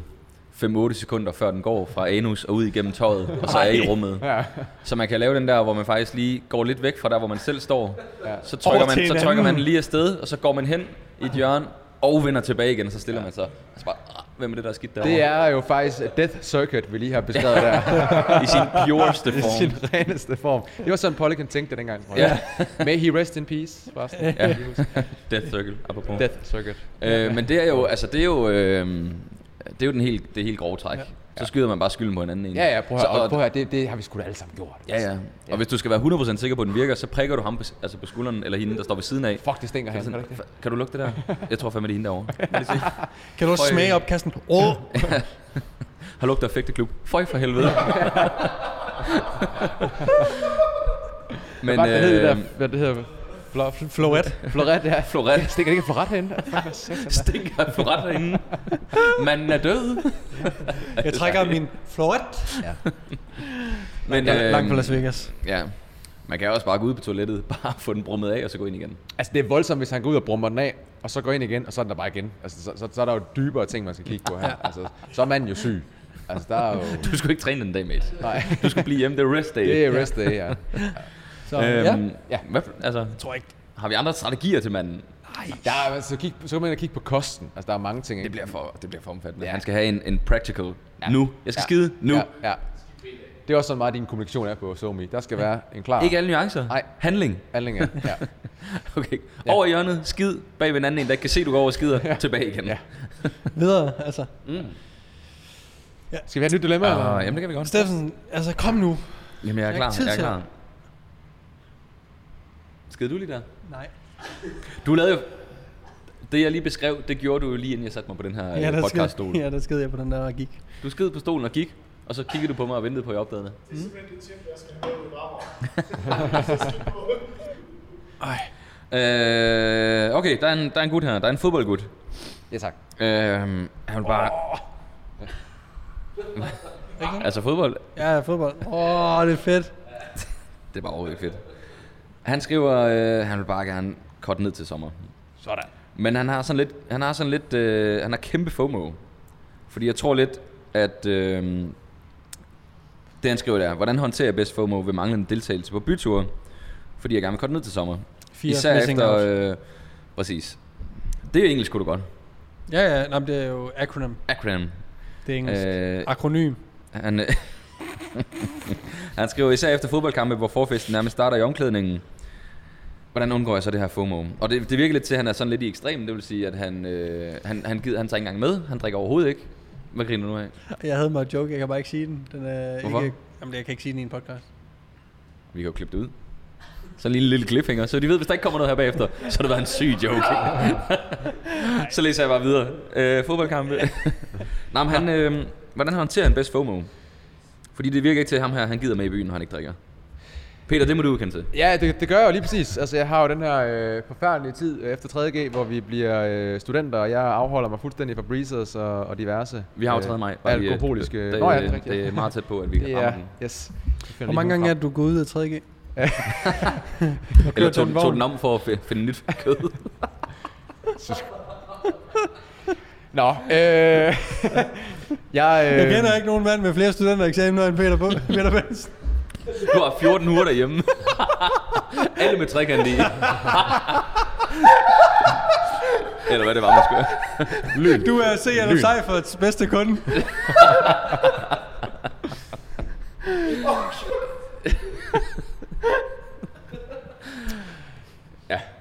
5-8 sekunder, før den går fra anus og ud igennem tøjet, og så er i rummet. Ja. Så man kan lave den der, hvor man faktisk lige går lidt væk fra der, hvor man selv står. Ja. Så trykker, Over til man, så en trykker man anden. lige afsted, og så går man hen i et hjørne, og vender tilbage igen, og så stiller man sig. Og så bare, "Ah, hvem er det, der er skidt derovre? Det er jo faktisk Death Circuit, vi lige har beskrevet der. I sin pureste I sin form. reneste form. Det var sådan, Polygon tænkte det dengang. tror jeg. May he rest in peace, forresten. Ja. Death Circle, apropos. Death Circuit. Øh, men det er jo, altså det er jo, øh, det er jo den helt, det helt grove træk. Så skyder man bare skylden på en anden en. Ja, ja, prøv at Så- høre, og og- prøv at høre det, det har vi sgu da alle sammen gjort. Ja, ja. Og hvis du skal være 100% sikker på, at den virker, så prikker du ham på, altså på skulderen eller hende, der står ved siden af. Fuck, det stinker Kan han. du Kan sådan, det ikke det? "Fa- Kan du lugte det der? Jeg tror fandme, det er hende derovre. Kan du se? Kan du også Prøv, øh, smage opkasten? Åh, oh, Har lugter fægteklub. Føj for helvede. Men Hvad øh, hedder det øh, der? Hvad det hedder? Flo- flowet. Floret, ja. Floret. Stikker det ikke en floret herinde? Fuck, hvad satan er. stinker for ret derinde. Manden er død. Jeg trækker min flowet. Men, Ja, langt øhm, fra Las Vegas. Ja. Man kan også bare gå ud på toilettet, bare få den brummet af og så gå ind igen. Altså, det er voldsomt, hvis han går ud og brummer den af, og så går ind igen, og så er den der bare igen. Altså, så, så, så er der jo dybere ting, man skal kigge på her. Altså, så er manden jo syg. Altså, der er jo... Du skulle ikke træne den dag, mate. Nej, Du skulle blive hjemme, det er rest day. det er rest day, ja. Så øhm, ja, ja. Hvad, altså, jeg tror ikke. har vi andre strategier til manden? Der er, altså, kig, så kan man ind og kigge på kosten. Altså, der er mange ting, ikke? Det bliver for, det bliver for omfattende. Ja. Ja. Han skal have en, en practical Ja. ja. nu. Jeg skal Ja. ja. skide nu. Ja. Ja, ja. Det er også sådan meget, din kommunikation er på SoMe. Der skal være en klar Ikke alle nuancer. Nej. Handling. handling af. Ja. Okay. Over i hjørnet, skid bag ved en anden en, der ikke kan se, du går over og skider ja. tilbage igen. Ja. Ja. Videre, altså. Skal vi have et nyt dilemma? eller? Uh, jamen, det kan vi godt. Steffensen, altså kom nu. Jamen, jeg er ikke klar. tid Jeg er til klar. Skider du lige der? Nej. Du lavede jo... Det, jeg lige beskrev, det gjorde du jo lige, inden jeg satte mig på den her Ja, ja, der podcaststol. sked, ja, der sked jeg på den der og gik. Du skid på stolen og gik, og så kiggede du på mig og ventede på, at jeg opdagede det. Ej. Øh, okay, der er, en, der er en gut her. Der er en fodboldgut. Ja, tak. Øh, han vil bare... altså fodbold, Ja, ja, fodbold. Åh, oh, det er fedt. det er bare overhovedet ikke fedt. Han skriver, øh, han vil bare gerne korte ned til sommer. Sådan. Men han har sådan lidt, han har sådan lidt, øh, han har kæmpe FOMO. Fordi jeg tror lidt, at øh, det han skriver der, hvordan håndterer jeg bedst FOMO ved manglende deltagelse på byture? Fordi jeg gerne vil korte ned til sommer. Fear of Især missing efter, out. øh, præcis. Det er engelsk, kunne du godt. Ja, ja, nej, men det er jo acronym. Acronym. Det er engelsk. Øh, Akronym. Han, øh, han skriver især efter fodboldkampe, hvor forfesten nærmest starter i omklædningen. Hvordan undgår jeg så det her FOMO? Og det, det virker lidt til, at han er sådan lidt i ekstrem. Det vil sige, at han, øh, han, han, gider, han tager ikke engang med. Han drikker overhovedet ikke. Hvad griner du nu af? Jeg havde mig en joke, jeg kan bare ikke sige den. den er Hvorfor? Ikke, jamen, jeg kan ikke sige den i en podcast. Vi kan jo klippe det ud. Så lige en lille cliffhanger, så de ved, hvis der ikke kommer noget her bagefter, så har det været en syg joke. så læser jeg bare videre. Øh, fodboldkampe. Nej, men han, øh, hvordan håndterer han bedst FOMO? Fordi det virker ikke til at ham her, han gider med i byen, når han ikke drikker. Peter, det må du udkende til. Ja, det, det gør jeg jo lige præcis. Altså, jeg har jo den her øh, forfærdelige tid øh, efter 3.G, hvor vi bliver øh, studenter, og jeg afholder mig fuldstændig fra breezers og, og diverse. Vi har jo øh, 3. maj. bare lige, øh, Alkoholiske... Det, det, Nå ja, det, rigtigt. det er meget tæt på, at vi Det kan ramme er, den. yes. Hvor mange gange er det, du gået ud af 3G? Eller til en tog, tog vogn. den om for at fi- finde nyt kød. Nå, øh, jeg, øh, Jeg kender ikke nogen mand med flere studentereksamener end Peter, Bo- Peter Benson. Du har 14 uger derhjemme. Alle med trekant i. Eller hvad det var, man skulle. Du er C.L.M. Lyn. Seiferts bedste kunde.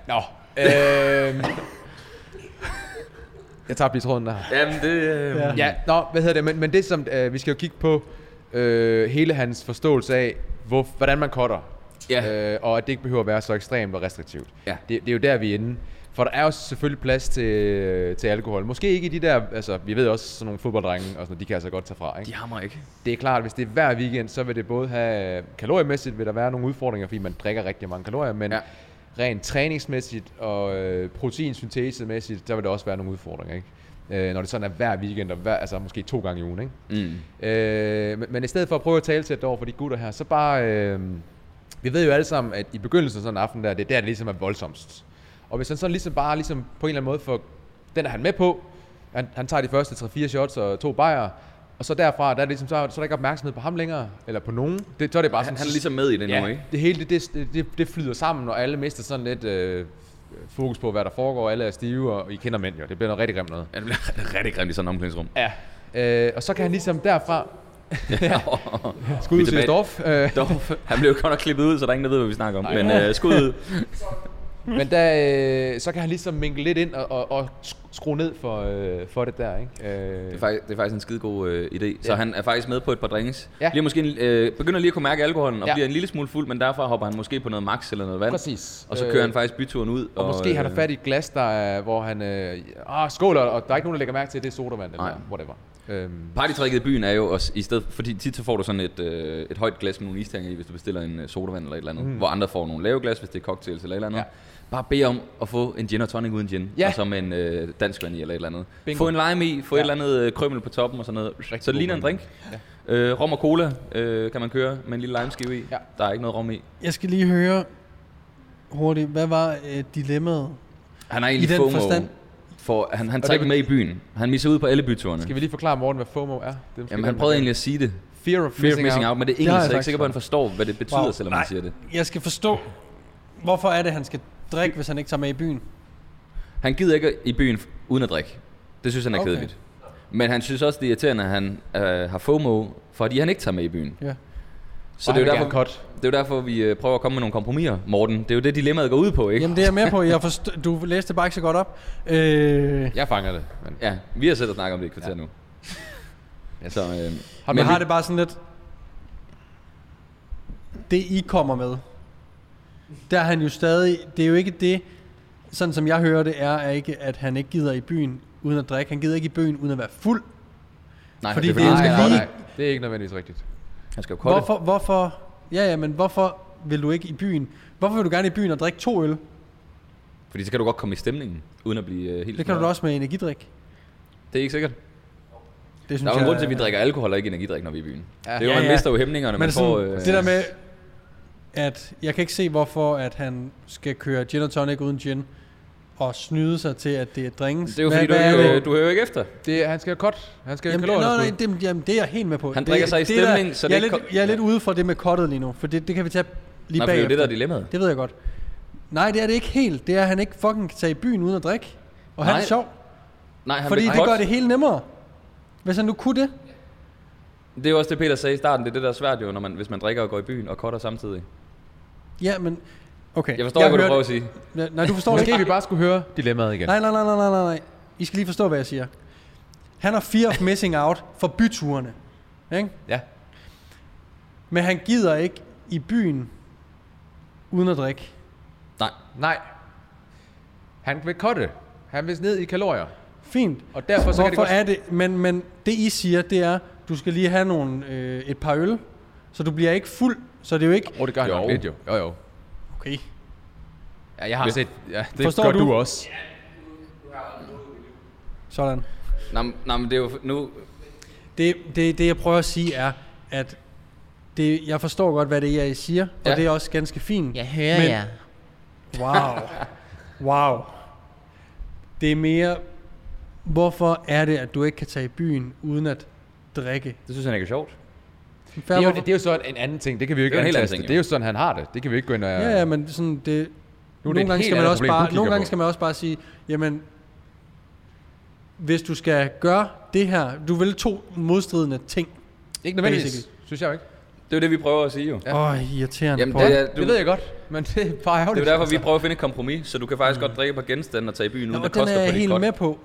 Nå, øh, jeg tager lige tråden der. Jamen, det... Øh, Ja. ja. Ja, nå, hvad hedder det, men, men det som, øh, vi skal jo kigge på øh, hele hans forståelse af, hvor, hvordan man cutter. Ja. Øh, og at det ikke behøver at være så ekstremt og restriktivt. Ja. Det, det er jo der, vi er inde. For der er jo selvfølgelig plads til, til alkohol. Måske ikke i de der, altså vi ved også sådan nogle fodbolddrenge, og sådan, noget, de kan altså godt tage fra. Ikke? De hammer ikke. Det er klart, at hvis det er hver weekend, så vil det både have kaloriemæssigt, vil der være nogle udfordringer, fordi man drikker rigtig mange kalorier, men ja. Ja. rent træningsmæssigt og øh, proteinsyntesemæssigt, der vil der også være nogle udfordringer, ikke? Øh, når det sådan er hver weekend, og hver, altså måske to gange i ugen, ikke? Mm. Øh, men, men i stedet for at prøve at tale til over for de gutter her, så bare... Øh, vi ved jo alle sammen, at i begyndelsen af sådan en aften der, det er der, det ligesom er voldsomst. Og hvis han sådan ligesom bare ligesom på en eller anden måde får... Den er han med på. Han, han tager de første 3-4 shots og to bajer. Og så derfra, der er, det ligesom, så er, så er der ikke opmærksomhed på ham længere, eller på nogen. Det, så er det bare Han, sådan, han er ligesom med i det nu, ikke? det hele det, det, det, det flyder sammen, og alle mister sådan lidt øh, fokus på, hvad der foregår. Alle er stive, og I kender mænd jo. Det bliver noget rigtig grimt noget. Ja, det bliver rigtig grimt i sådan en omklædningsrum. Ja. Øh, og så kan han ligesom derfra... Vi Skud er til tilbage- Storff. Øh, Dorf. Han blev jo godt nok klippet ud, så der er ingen, der ved, hvad vi snakker om. Nej. Men øh, skud ud. men der, øh, så kan han ligesom mingle lidt ind og, og, og sk- skrue ned for, øh, for det der, ikke? Det er Øh, faktisk, det er faktisk en skide god øh, idé. Så Ja. han er faktisk med på et par drinks. Ja. Bliver måske en, øh, begynder lige at kunne mærke alkoholen og Ja. bliver en lille smule fuld, men derfra hopper han måske på noget max eller noget vand. Præcis. Og så kører Øh, han faktisk byturen ud. øh, og, og måske han har fat i et glas, der er, hvor han... Øh, ah, skåler, og der er ikke nogen, der lægger mærke til, at det er sodavand eller Nej. whatever. Øhm, Partytricket i byen er jo også, i stedet, fordi tit så får du sådan et, øh, et højt glas med nogle isterninger i, hvis du bestiller en øh, sodavand eller et eller andet. Mm. Hvor andre får nogle lave glas, hvis det er cocktails eller et eller andet. Ja. Ja. Bare bed om at få en gin og tonic uden gin, Ja. og så med en øh, dansk vand i eller et eller andet. Bingo. Få en lime i, få ja. Ja. et eller andet øh, krømmel på toppen og sådan noget. Rigtig så god det ligner en blanding. drink. Ja. Øh, rom og cola øh, kan man køre med en lille limeskive i. Ja. Ja. Der er ikke noget rom i. Jeg skal lige høre hurtigt, hvad var øh, dilemmaet? Han er egentlig I den FOMO. forstand- For, han, han det tager ikke bet- med i byen. Han misser ud på alle byturene. skal vi lige forklare Morten, hvad FOMO er? Det er måske Jamen, den, han der prøvede kan- egentlig at sige det. Fear of Fear of missing out, men det er Det engelsk, så har jeg jeg er ikke faktisk sikker på, at han forstår, hvad det betyder, Wow. selvom han Nej. siger det. Jeg skal forstå, hvorfor er det, han skal drikke, hvis han ikke tager med i byen? Han gider ikke i byen f- uden at drikke. Det synes han er Okay. kedeligt. Men han synes også, det er irriterende, at han øh, har FOMO, fordi han ikke tager med i byen. Ja. Så Og det er, jo han vil derfor, gerne cut. det er jo derfor, vi øh, prøver at komme med nogle kompromiser, Morten. Det er jo det, dilemmaet går ud på, ikke? Jamen det er jeg med på. Jeg forstår, du læste det bare ikke så godt op. Øh, Jeg fanger det. Men Ja, vi har selv at snakke om det i et kvarter ja. nu. Yes. Så, øh, Har men men jeg har vi- det bare sådan lidt... Det I kommer med, der er han jo stadig... Det er jo ikke det, sådan som jeg hører det, er, er ikke, at han ikke gider i byen uden at drikke. Han gider ikke i byen uden at være fuld. nej, Fordi det er, fordi det han er skal jo cutte. lige- nej, det er ikke nødvendigvis rigtigt. Han skal jo cutte. Hvorfor, hvorfor, ja, ja, men hvorfor vil du ikke i byen? Hvorfor vil du gerne i byen og drikke to øl? Fordi så kan du godt komme i stemningen, uden at blive øh, helt Det kan du da smadret. også med energidrik. Det er ikke sikkert. Det synes Der er jo en grund til, at vi drikker alkohol og ikke energidrik, når vi er i byen. Ja. Ja. Det er jo, Ja, man ja. mister jo hæmningerne, man Men sådan, får... øh, det der med, at jeg kan ikke se, hvorfor at han skal køre gin og tonic uden gin, og snyde sig til, at det er drinks. det er jo Hvad- fordi, hvad du, er er det? jo, du hører jo ikke efter. Det, han skal have cut. Han skal have Jamen, nej, nej, kalorier. det, jamen, det er jeg helt med på. Han Det- drikker sig i det er stemning, der, så det jeg er, ikke lidt, kom- jeg er lidt ude fra det med kottet lige nu, for det, det kan vi tage lige Nej, for det er bagefter. jo det, der er dilemmaet. Det ved jeg godt. Nej, det er det ikke helt. Det er, at han ikke fucking kan tage i byen uden at drikke. Og han Nej, er sjov, Nej, han fordi vil det cutte. gør det hele nemmere. Hvis han nu kunne det. Det er jo også det, Peter sagde i starten. Det er det, der er svært jo, når man, hvis man drikker og går i byen og cutter samtidig. Ja, men... Okay. Jeg forstår jeg ikke, hvad du prøver hørte- at sige. Ja, Nej, du forstår det Måske ikke. vi bare skulle høre dilemmaet igen. Nej, nej, nej, nej, nej, nej, nej. I skal lige forstå, hvad jeg siger. Han har fear of missing out for byturene. Ikke? Ja. Men han gider ikke i byen uden at drikke. Nej. Nej. Han vil cutte. Han vil ned i kalorier. Fint. Og derfor så Hvorfor kan det godt... er det? Men, men det I siger, det er, du skal lige have nogle, øh, et par øl, så du bliver ikke fuld. Så det er jo ikke... Åh, oh, det gør han Jo. jo. lidt jo. Jo, jo. Okay. Ja, jeg har set... Ja, det Forstår Forstår gør du, du? du også. Sådan. Nå, men- nå, men det er jo nu... Det, det, det jeg prøver at sige er, at det, jeg forstår godt, hvad det er, I siger, og Ja. det er også ganske fint. Jeg hører men, men... jer. Wow. Wow. Det er mere, hvorfor er det, at du ikke kan tage i byen uden at drikke? Det synes han ikke er sjovt. Fair, Det er, jo, hvorfor- det er jo så en anden ting. Det kan vi jo ikke Det er en helt anden antaste. ting, jo. Det er jo sådan, han har det. Det kan vi jo ikke gå ind og... Ja, ja, men sådan det... Nu er det nogle et gange helt skal man andet også problem, du bare, kigger nogle gange på. skal man også bare sige, jamen, hvis du skal gøre det her, du vil to modstridende ting. Ikke nødvendigvis. Basically. Synes jeg jo ikke. Det er jo det, vi prøver at sige jo. Ja. Åh, ja. oh, irriterende. Jamen, Jamen, det det er- er, Du, det ved jeg godt, men det er bare Det er ærgerligt. jo derfor, vi prøver at finde et kompromis, så du kan faktisk godt drikke på genstanden og tage i byen, uden Nå, at det den koster er på jeg det helt cut. med på.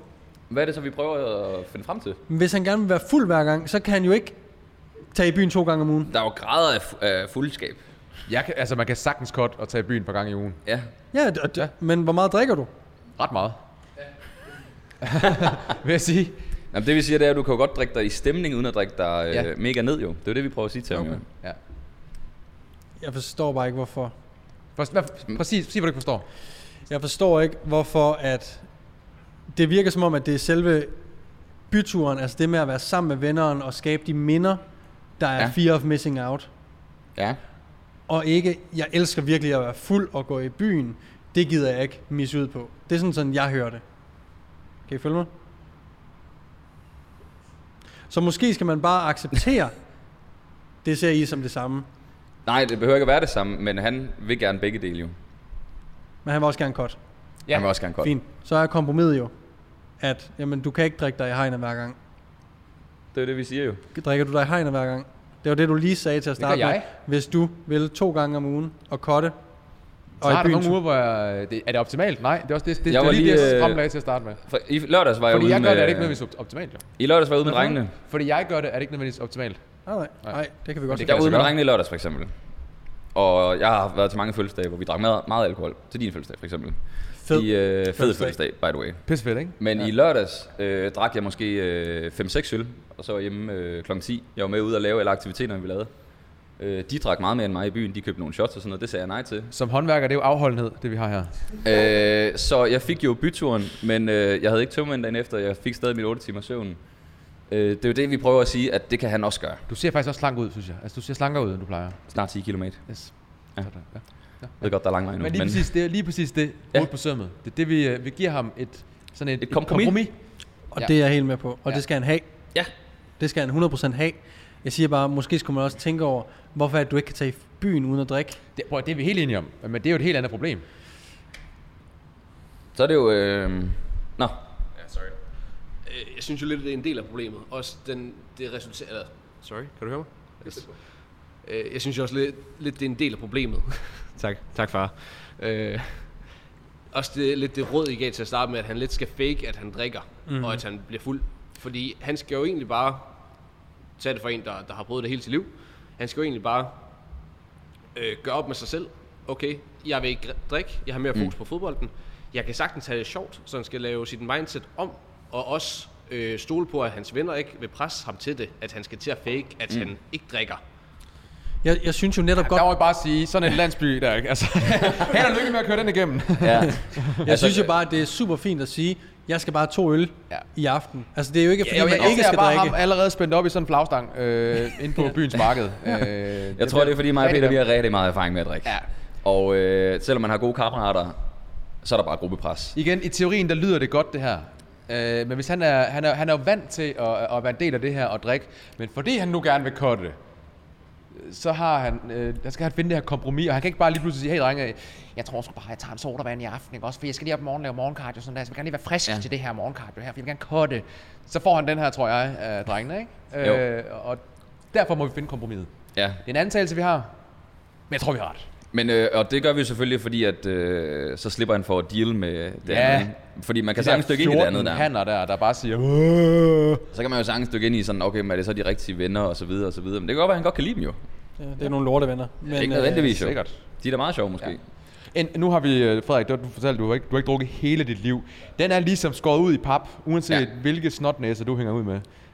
Hvad er det så, vi prøver at finde frem til? Men hvis han gerne vil være fuld hver gang, så kan han jo ikke tage i byen to gange om ugen. Der er jo grader af, fu- af fuldskab. Jeg kan, altså, man kan sagtens cut og tage i byen et par gange i ugen. Ja. Ja, d- d- men hvor meget drikker du? Ret meget. Vil jeg sige. Jamen, det vi siger, det er, at du kan jo godt drikke dig i stemning, uden at drikke dig øh, Ja. mega ned jo. Det er jo det, vi prøver at sige til ham jo. Ja. Jeg forstår bare ikke, hvorfor. Forst, hvad, præcis, sig, hvad du ikke forstår. Jeg forstår ikke, hvorfor at det virker som om, at det er selve byturen, altså det med at være sammen med venneren og skabe de minder, der er Ja. ja. fear of missing out. Ja. Og ikke, jeg elsker virkelig at være fuld og gå i byen. Det gider jeg ikke misse ud på. Det er sådan, sådan jeg hører det. Kan I følge mig? Så måske skal man bare acceptere, det ser I som det samme. Nej, det behøver ikke at være det samme, men han vil gerne begge dele jo. Men han vil også gerne cut. Ja. Han vil også gerne godt. Fint. Så er kompromiset jo, at jamen, du kan ikke drikke dig i hegnet hver gang. Det er det, vi siger jo. Drikker du dig i hegnet hver gang? Det var det, du lige sagde til at starte gør med. jeg. Hvis du vil to gange om ugen og cutte, Så i har du byen nogle uger, hvor jeg, det, er det optimalt? Nej, det er også det, det, Jeg det, var var lige, lige, det, jeg øh, strømlagde til at starte med. For I lørdags var jeg Fordi ude jeg gør med, øh, det, er det ikke nødvendigvis opt- optimalt, jo. I lørdags var jeg ude med drengene. Fordi jeg gør det, er det ikke nødvendigvis optimalt. Nej, nej, nej, det kan vi godt det kan lade Jeg var se. sig ude med gøre. drengene i lørdags for eksempel. Og jeg har været til mange fødselsdage, hvor vi drak meget, meget alkohol. Til din fødselsdag for eksempel. Fed. I, øh, fed Fødselsdag. fødselsdag, by the way. Pisse fedt, ikke? Men ja. i lørdags øh, drak jeg måske øh, 5-6 øl, og så var jeg hjemme øh, kl. 10. Jeg var med ude og lave alle aktiviteterne, vi lavede. Øh, de drak meget mere end mig i byen. De købte nogle shots og sådan noget. Det sagde jeg nej til. Som håndværker, det er jo afholdenhed, det vi har her. Øh, så jeg fik jo byturen, men øh, jeg havde ikke tømmermænd dagen efter. Jeg fik stadig min 8 timer søvn. Øh, det er jo det, vi prøver at sige, at det kan han også gøre. Du ser faktisk også slank ud, synes jeg. Altså, du ser slankere ud, end du plejer. Snart 10 km. Jeg Yes. Ja. Ja. ja. ved godt, der er lang vej nu. Men lige præcis det, lige præcis det Ja. ja. på sømmet. Det er det, vi, øh, vi giver ham et, sådan et, Et kompromis. Og Ja. det er jeg helt med på. Og Ja. det skal han have. Ja, Det skal han 100% have. Jeg siger bare, måske skulle man også tænke over, hvorfor er det, du ikke kan tage i byen uden at drikke. Det, prøv, at- det er vi helt enige om, men det er jo et helt andet problem. så er det jo... Øh... Nå, Øh, jeg synes jo lidt, at det er en del af problemet. Også den, det resulterer... Eller, sorry, kan du høre mig? Yes. Øh, jeg synes jo også lidt, lidt, det er en del af problemet. tak, tak far. Øh, også det, lidt det råd, I gav til at starte med, at han lidt skal fake, at han drikker, mm. og at han bliver fuld. Fordi han skal jo egentlig bare tage det for en, der, der har prøvet det hele sit liv. Han skal jo egentlig bare øh, gøre op med sig selv. Okay, jeg vil ikke dri- drikke, jeg har mere fokus mm. på fodbolden. Jeg kan sagtens have det sjovt, så han skal lave sit mindset om, og også øh, stole på, at hans venner ikke vil presse ham til det, at han skal til at fake, at mm. han ikke drikker. Jeg, jeg synes jo netop godt... Der må jeg bare sige, sådan en landsby der, ikke? Altså, held og lykke med at køre den igennem. ja. Altså, Jeg synes jo bare, at det er super fint at sige, jeg skal bare have to øl Altså, øh, Ja. i aften. Altså, det er jo ikke, fordi Jeg, man ikke skal bare drikke. ham allerede spændt op i sådan en flagstang øh, inde på byens marked. Øh, jeg Jeg tror, det er fordi mig og Peter, vi har rigtig meget erfaring med at drikke. Ja. Og øh, selvom man har gode kammerater, så er der bare gruppepres. Igen, i teorien, der lyder det godt, det her. Øh, men hvis han er, han er, han er jo vant til at, at være en del af det her og drikke, men fordi han nu gerne vil cutte det, så har han, øh, der skal han finde det her kompromis, og han kan ikke bare lige pludselig sige, hey drenge, jeg tror sgu bare, jeg tager en sodavand i aften, ikke? også, for jeg skal lige op i morgen og lave morgenkardio, og sådan der, så jeg vil gerne lige være frisk ja. til det her morgenkardio her, for jeg vil gerne cutte. Så får han den her, tror jeg, af drengene, ikke? Jo. Øh, og derfor må vi finde kompromiset. Ja. Det er en antagelse, vi har, men jeg tror, vi har ret. Men, øh, og det gør vi jo selvfølgelig, fordi at, øh, så slipper han for at deal med det Ja. andet. Fordi man kan sagtens dykke ind i det andet der. hanner der, der bare siger, Så kan man jo sagtens dykke ind i sådan, okay, men er det så de rigtige venner og så videre og så videre. Men det kan godt være, at han godt kan lide dem jo. Ja, det er nogle lortevenner. Men, Men, ikke øh, nødvendigvis jo. sikkert. De er da meget sjove måske. Ja. En, nu har vi, øh, Frederik, du, du fortalte, du har, ikke, du har ikke drukket hele dit liv. Den er ligesom skåret ud i pap, uanset Ja. ja. hvilke snotnæser du hænger ud med.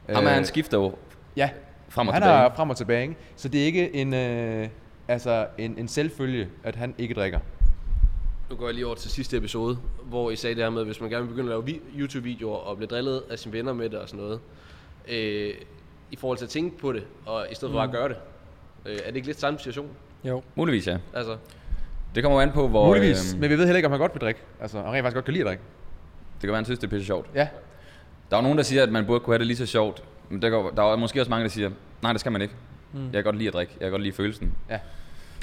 Ham, Øh, øh, han skifter jo ja. frem og han tilbage. er frem og tilbage, ikke? Så det er ikke en, øh, altså en, en selvfølge, at han ikke drikker. Nu går jeg lige over til sidste episode, hvor I sagde det her med, at hvis man gerne vil begynde at lave vi- YouTube-videoer og blive drillet af sine venner med det og sådan noget, øh, i forhold til at tænke på det, og i stedet for bare at gøre det. Øh, er det ikke lidt samme situation? Jo. Muligvis ja. Altså, Det kommer jo an på, hvor... Og, Muligvis, øhm, men vi ved heller ikke, om han godt vil drikke. Altså, han rent faktisk godt kan lide at drikke. det kan være, han synes, det er pisse sjovt. Ja. Der er jo nogen, der siger, at man burde kunne have det lige så sjovt. Men der, går, der er jo måske også mange, der siger, nej, det skal man ikke. Mm. Jeg kan godt lide at drikke. Jeg kan godt lide følelsen.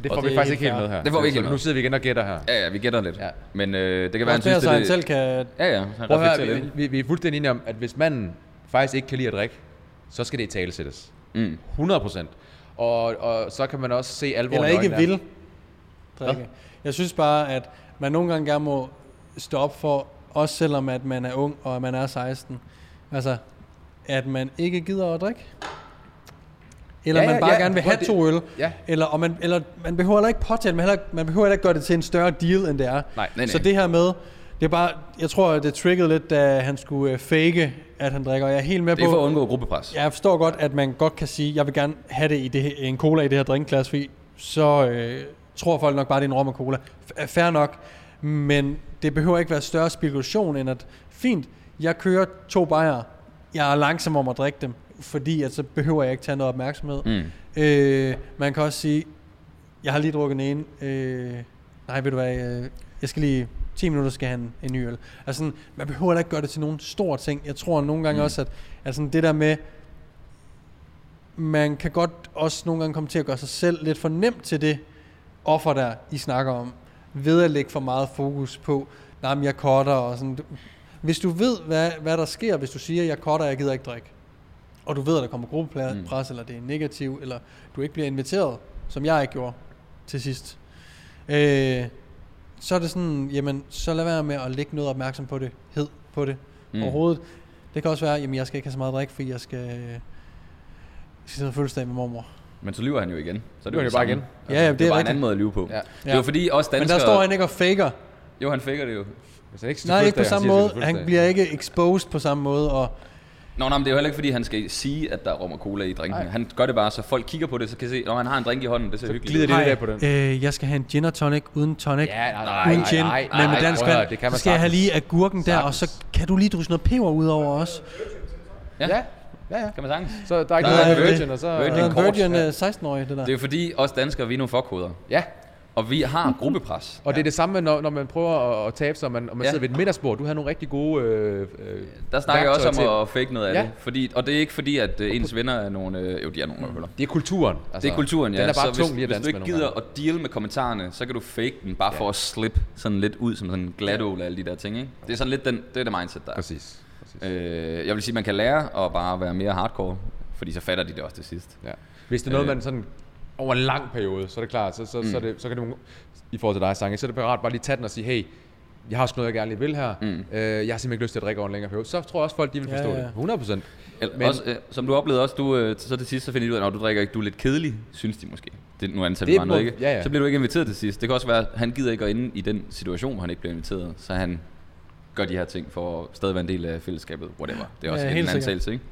Det Og får det vi er faktisk helt ikke helt fair. med her. Det får vi ikke helt Så med. Nu sidder vi igen og gætter her. Ja, ja, vi gætter lidt. Ja. Men øh, det kan være, Også han der, synes, så det, han det- selv kan... Ja, ja, han Prøv at reflekterer høre, vi, lidt. vi, vi er fuldstændig enige om, at hvis manden faktisk ikke kan lide at drikke, så skal det i talesættes. Mm. 100 procent. Og, og så kan man også se alvoren Eller i ikke øjnene af vil drikke. Jeg synes bare, at man nogle gange gerne må stå op for, også selvom at man er ung og at man er 16. Altså, at man ikke gider at drikke. Eller Ja, man ja, bare ja. gerne vil Prøv have at det- to øl. Ja. Eller, og man, eller man behøver heller ikke påtale, man, heller, man behøver heller ikke gøre det til en større deal, end det er. Nej, nej, Så nej. det her med, det er bare, jeg tror, det triggede lidt, da han skulle øh, fake, at han drikker. Og jeg er helt med Det er på... for at undgå gruppepres. Jeg forstår godt, at man godt kan sige, jeg vil gerne have det i det, her- en cola i det her drinkglas, fordi så øh, tror folk nok bare, det er en rom og cola. F- øh, fair nok, men det behøver ikke være større spekulation, end at, fint, jeg kører to bajere, jeg er langsom om at drikke dem, fordi at så behøver jeg ikke tage noget opmærksomhed. Mm. Øh, man kan også sige, jeg har lige drukket en ene, øh, nej, ved du hvad, øh, jeg skal lige, 10 minutter skal han en ny øl. Altså, sådan, man behøver da ikke gøre det til nogen stor ting. Jeg tror nogle gange mm. også, at, at sådan det der med, man kan godt også nogle gange komme til at gøre sig selv lidt for nemt til det offer, der I snakker om, ved at lægge for meget fokus på, nej, men jeg cutter og sådan. Du- Hvis du ved, hvad, hvad der sker, hvis du siger, jeg cutter, jeg gider ikke drikke, og du ved, at der kommer gruppepres, mm. eller det er negativ, eller du ikke bliver inviteret, som jeg ikke gjorde til sidst, øh, så er det sådan, jamen, så lad være med at lægge noget opmærksom på det, hed på det mm. overhovedet. Det kan også være, jamen, jeg skal ikke have så meget drik, fordi jeg skal, jeg skal sidde og fødselsdag med mormor. Men så lyver han jo igen. Så lyver han jo bare det samme. Altså, igen. Ja, ja, det det er er bare en rigtigt. anden måde at lyve på. Ja. Det var fordi også Men danskere... der står han ikke og faker. Jo, han faker det jo. Hvis han ikke skal til Nej, ikke på fødselsdag, samme siger måde. til sin Han fødselsdag. bliver ikke exposed på samme måde. Og Nå, nej, men det er jo heller ikke, fordi han skal sige, at der er rom og cola i drinken. Nej. Han gør det bare, så folk kigger på det, så kan se, når han har en drink i hånden, det ser Så hyggeligt glider ud. det lidt af på den. øh, jeg skal have en gin og tonic uden tonic. Ja, nej, nej, uden nej, gin, nej, nej, men med nej, dansk prøv at høre, vand. det kan så man skal jeg have sagtens. lige agurken der, og så kan du lige drysse noget peber ud over også. Ja, ja, ja. Kan man sagtens. Så der er ikke Der noget er af en det. virgin, og så... Virgin. Det er en kort, virgin øh, 16-årig, det der. Det er jo fordi, os danskere, vi er nogle fuckhoveder. Ja, Og vi har gruppepres. og det er det samme, når, når man prøver at, at tabe sig, og man, og man Ja. ja. sidder ved et middagsbord. Du har nogle rigtig gode... Øh, øh, Der snakker jeg også værktøjer om at fake noget af Ja. det. Fordi, og det er ikke fordi, at øh, ens venner er nogle... Øh, jo, de er nogle røvhuller. Det er kulturen. Altså, Det er kulturen, ja. Den er bare så tung hvis, lige at hvis du danse med ikke nogle gider gange. at deal med kommentarerne, så kan du fake den bare for at slippe sådan lidt ud som sådan en glatål og alle de der ting, ikke? Det er sådan lidt den, det er det mindset, der er. Præcis. Præcis. Øh, jeg vil sige, man kan lære at bare være mere hardcore, fordi så fatter de det også til sidst. Ja. Hvis det er noget, man sådan over en lang periode, så er det klart, så, så, mm. så, er det, så kan du, i forhold til dig, Sange, så er det parat bare lige tage den og sige, hey, jeg har også noget, jeg gerne lige vil her. Mm. Øh, jeg har simpelthen ikke lyst til at drikke over en længere periode. Så tror jeg også, folk de vil Ja, forstå ja, ja. ja. det. 100 procent. Eller, Men- også, øh, som du oplevede også, du, øh, så til sidst så finder de ud af, at du drikker ikke, du er lidt kedelig, synes de måske. Det, nu antager vi Det bare noget, må- ikke? ja, ja. Så bliver du ikke inviteret til sidst. Det kan også være, at han gider ikke at ende i den situation, hvor han ikke bliver inviteret, så han gør de her ting for at stadig være en del af fællesskabet, whatever. Det er også Ja, ja, en helt anden sikkert. tagelse, ikke?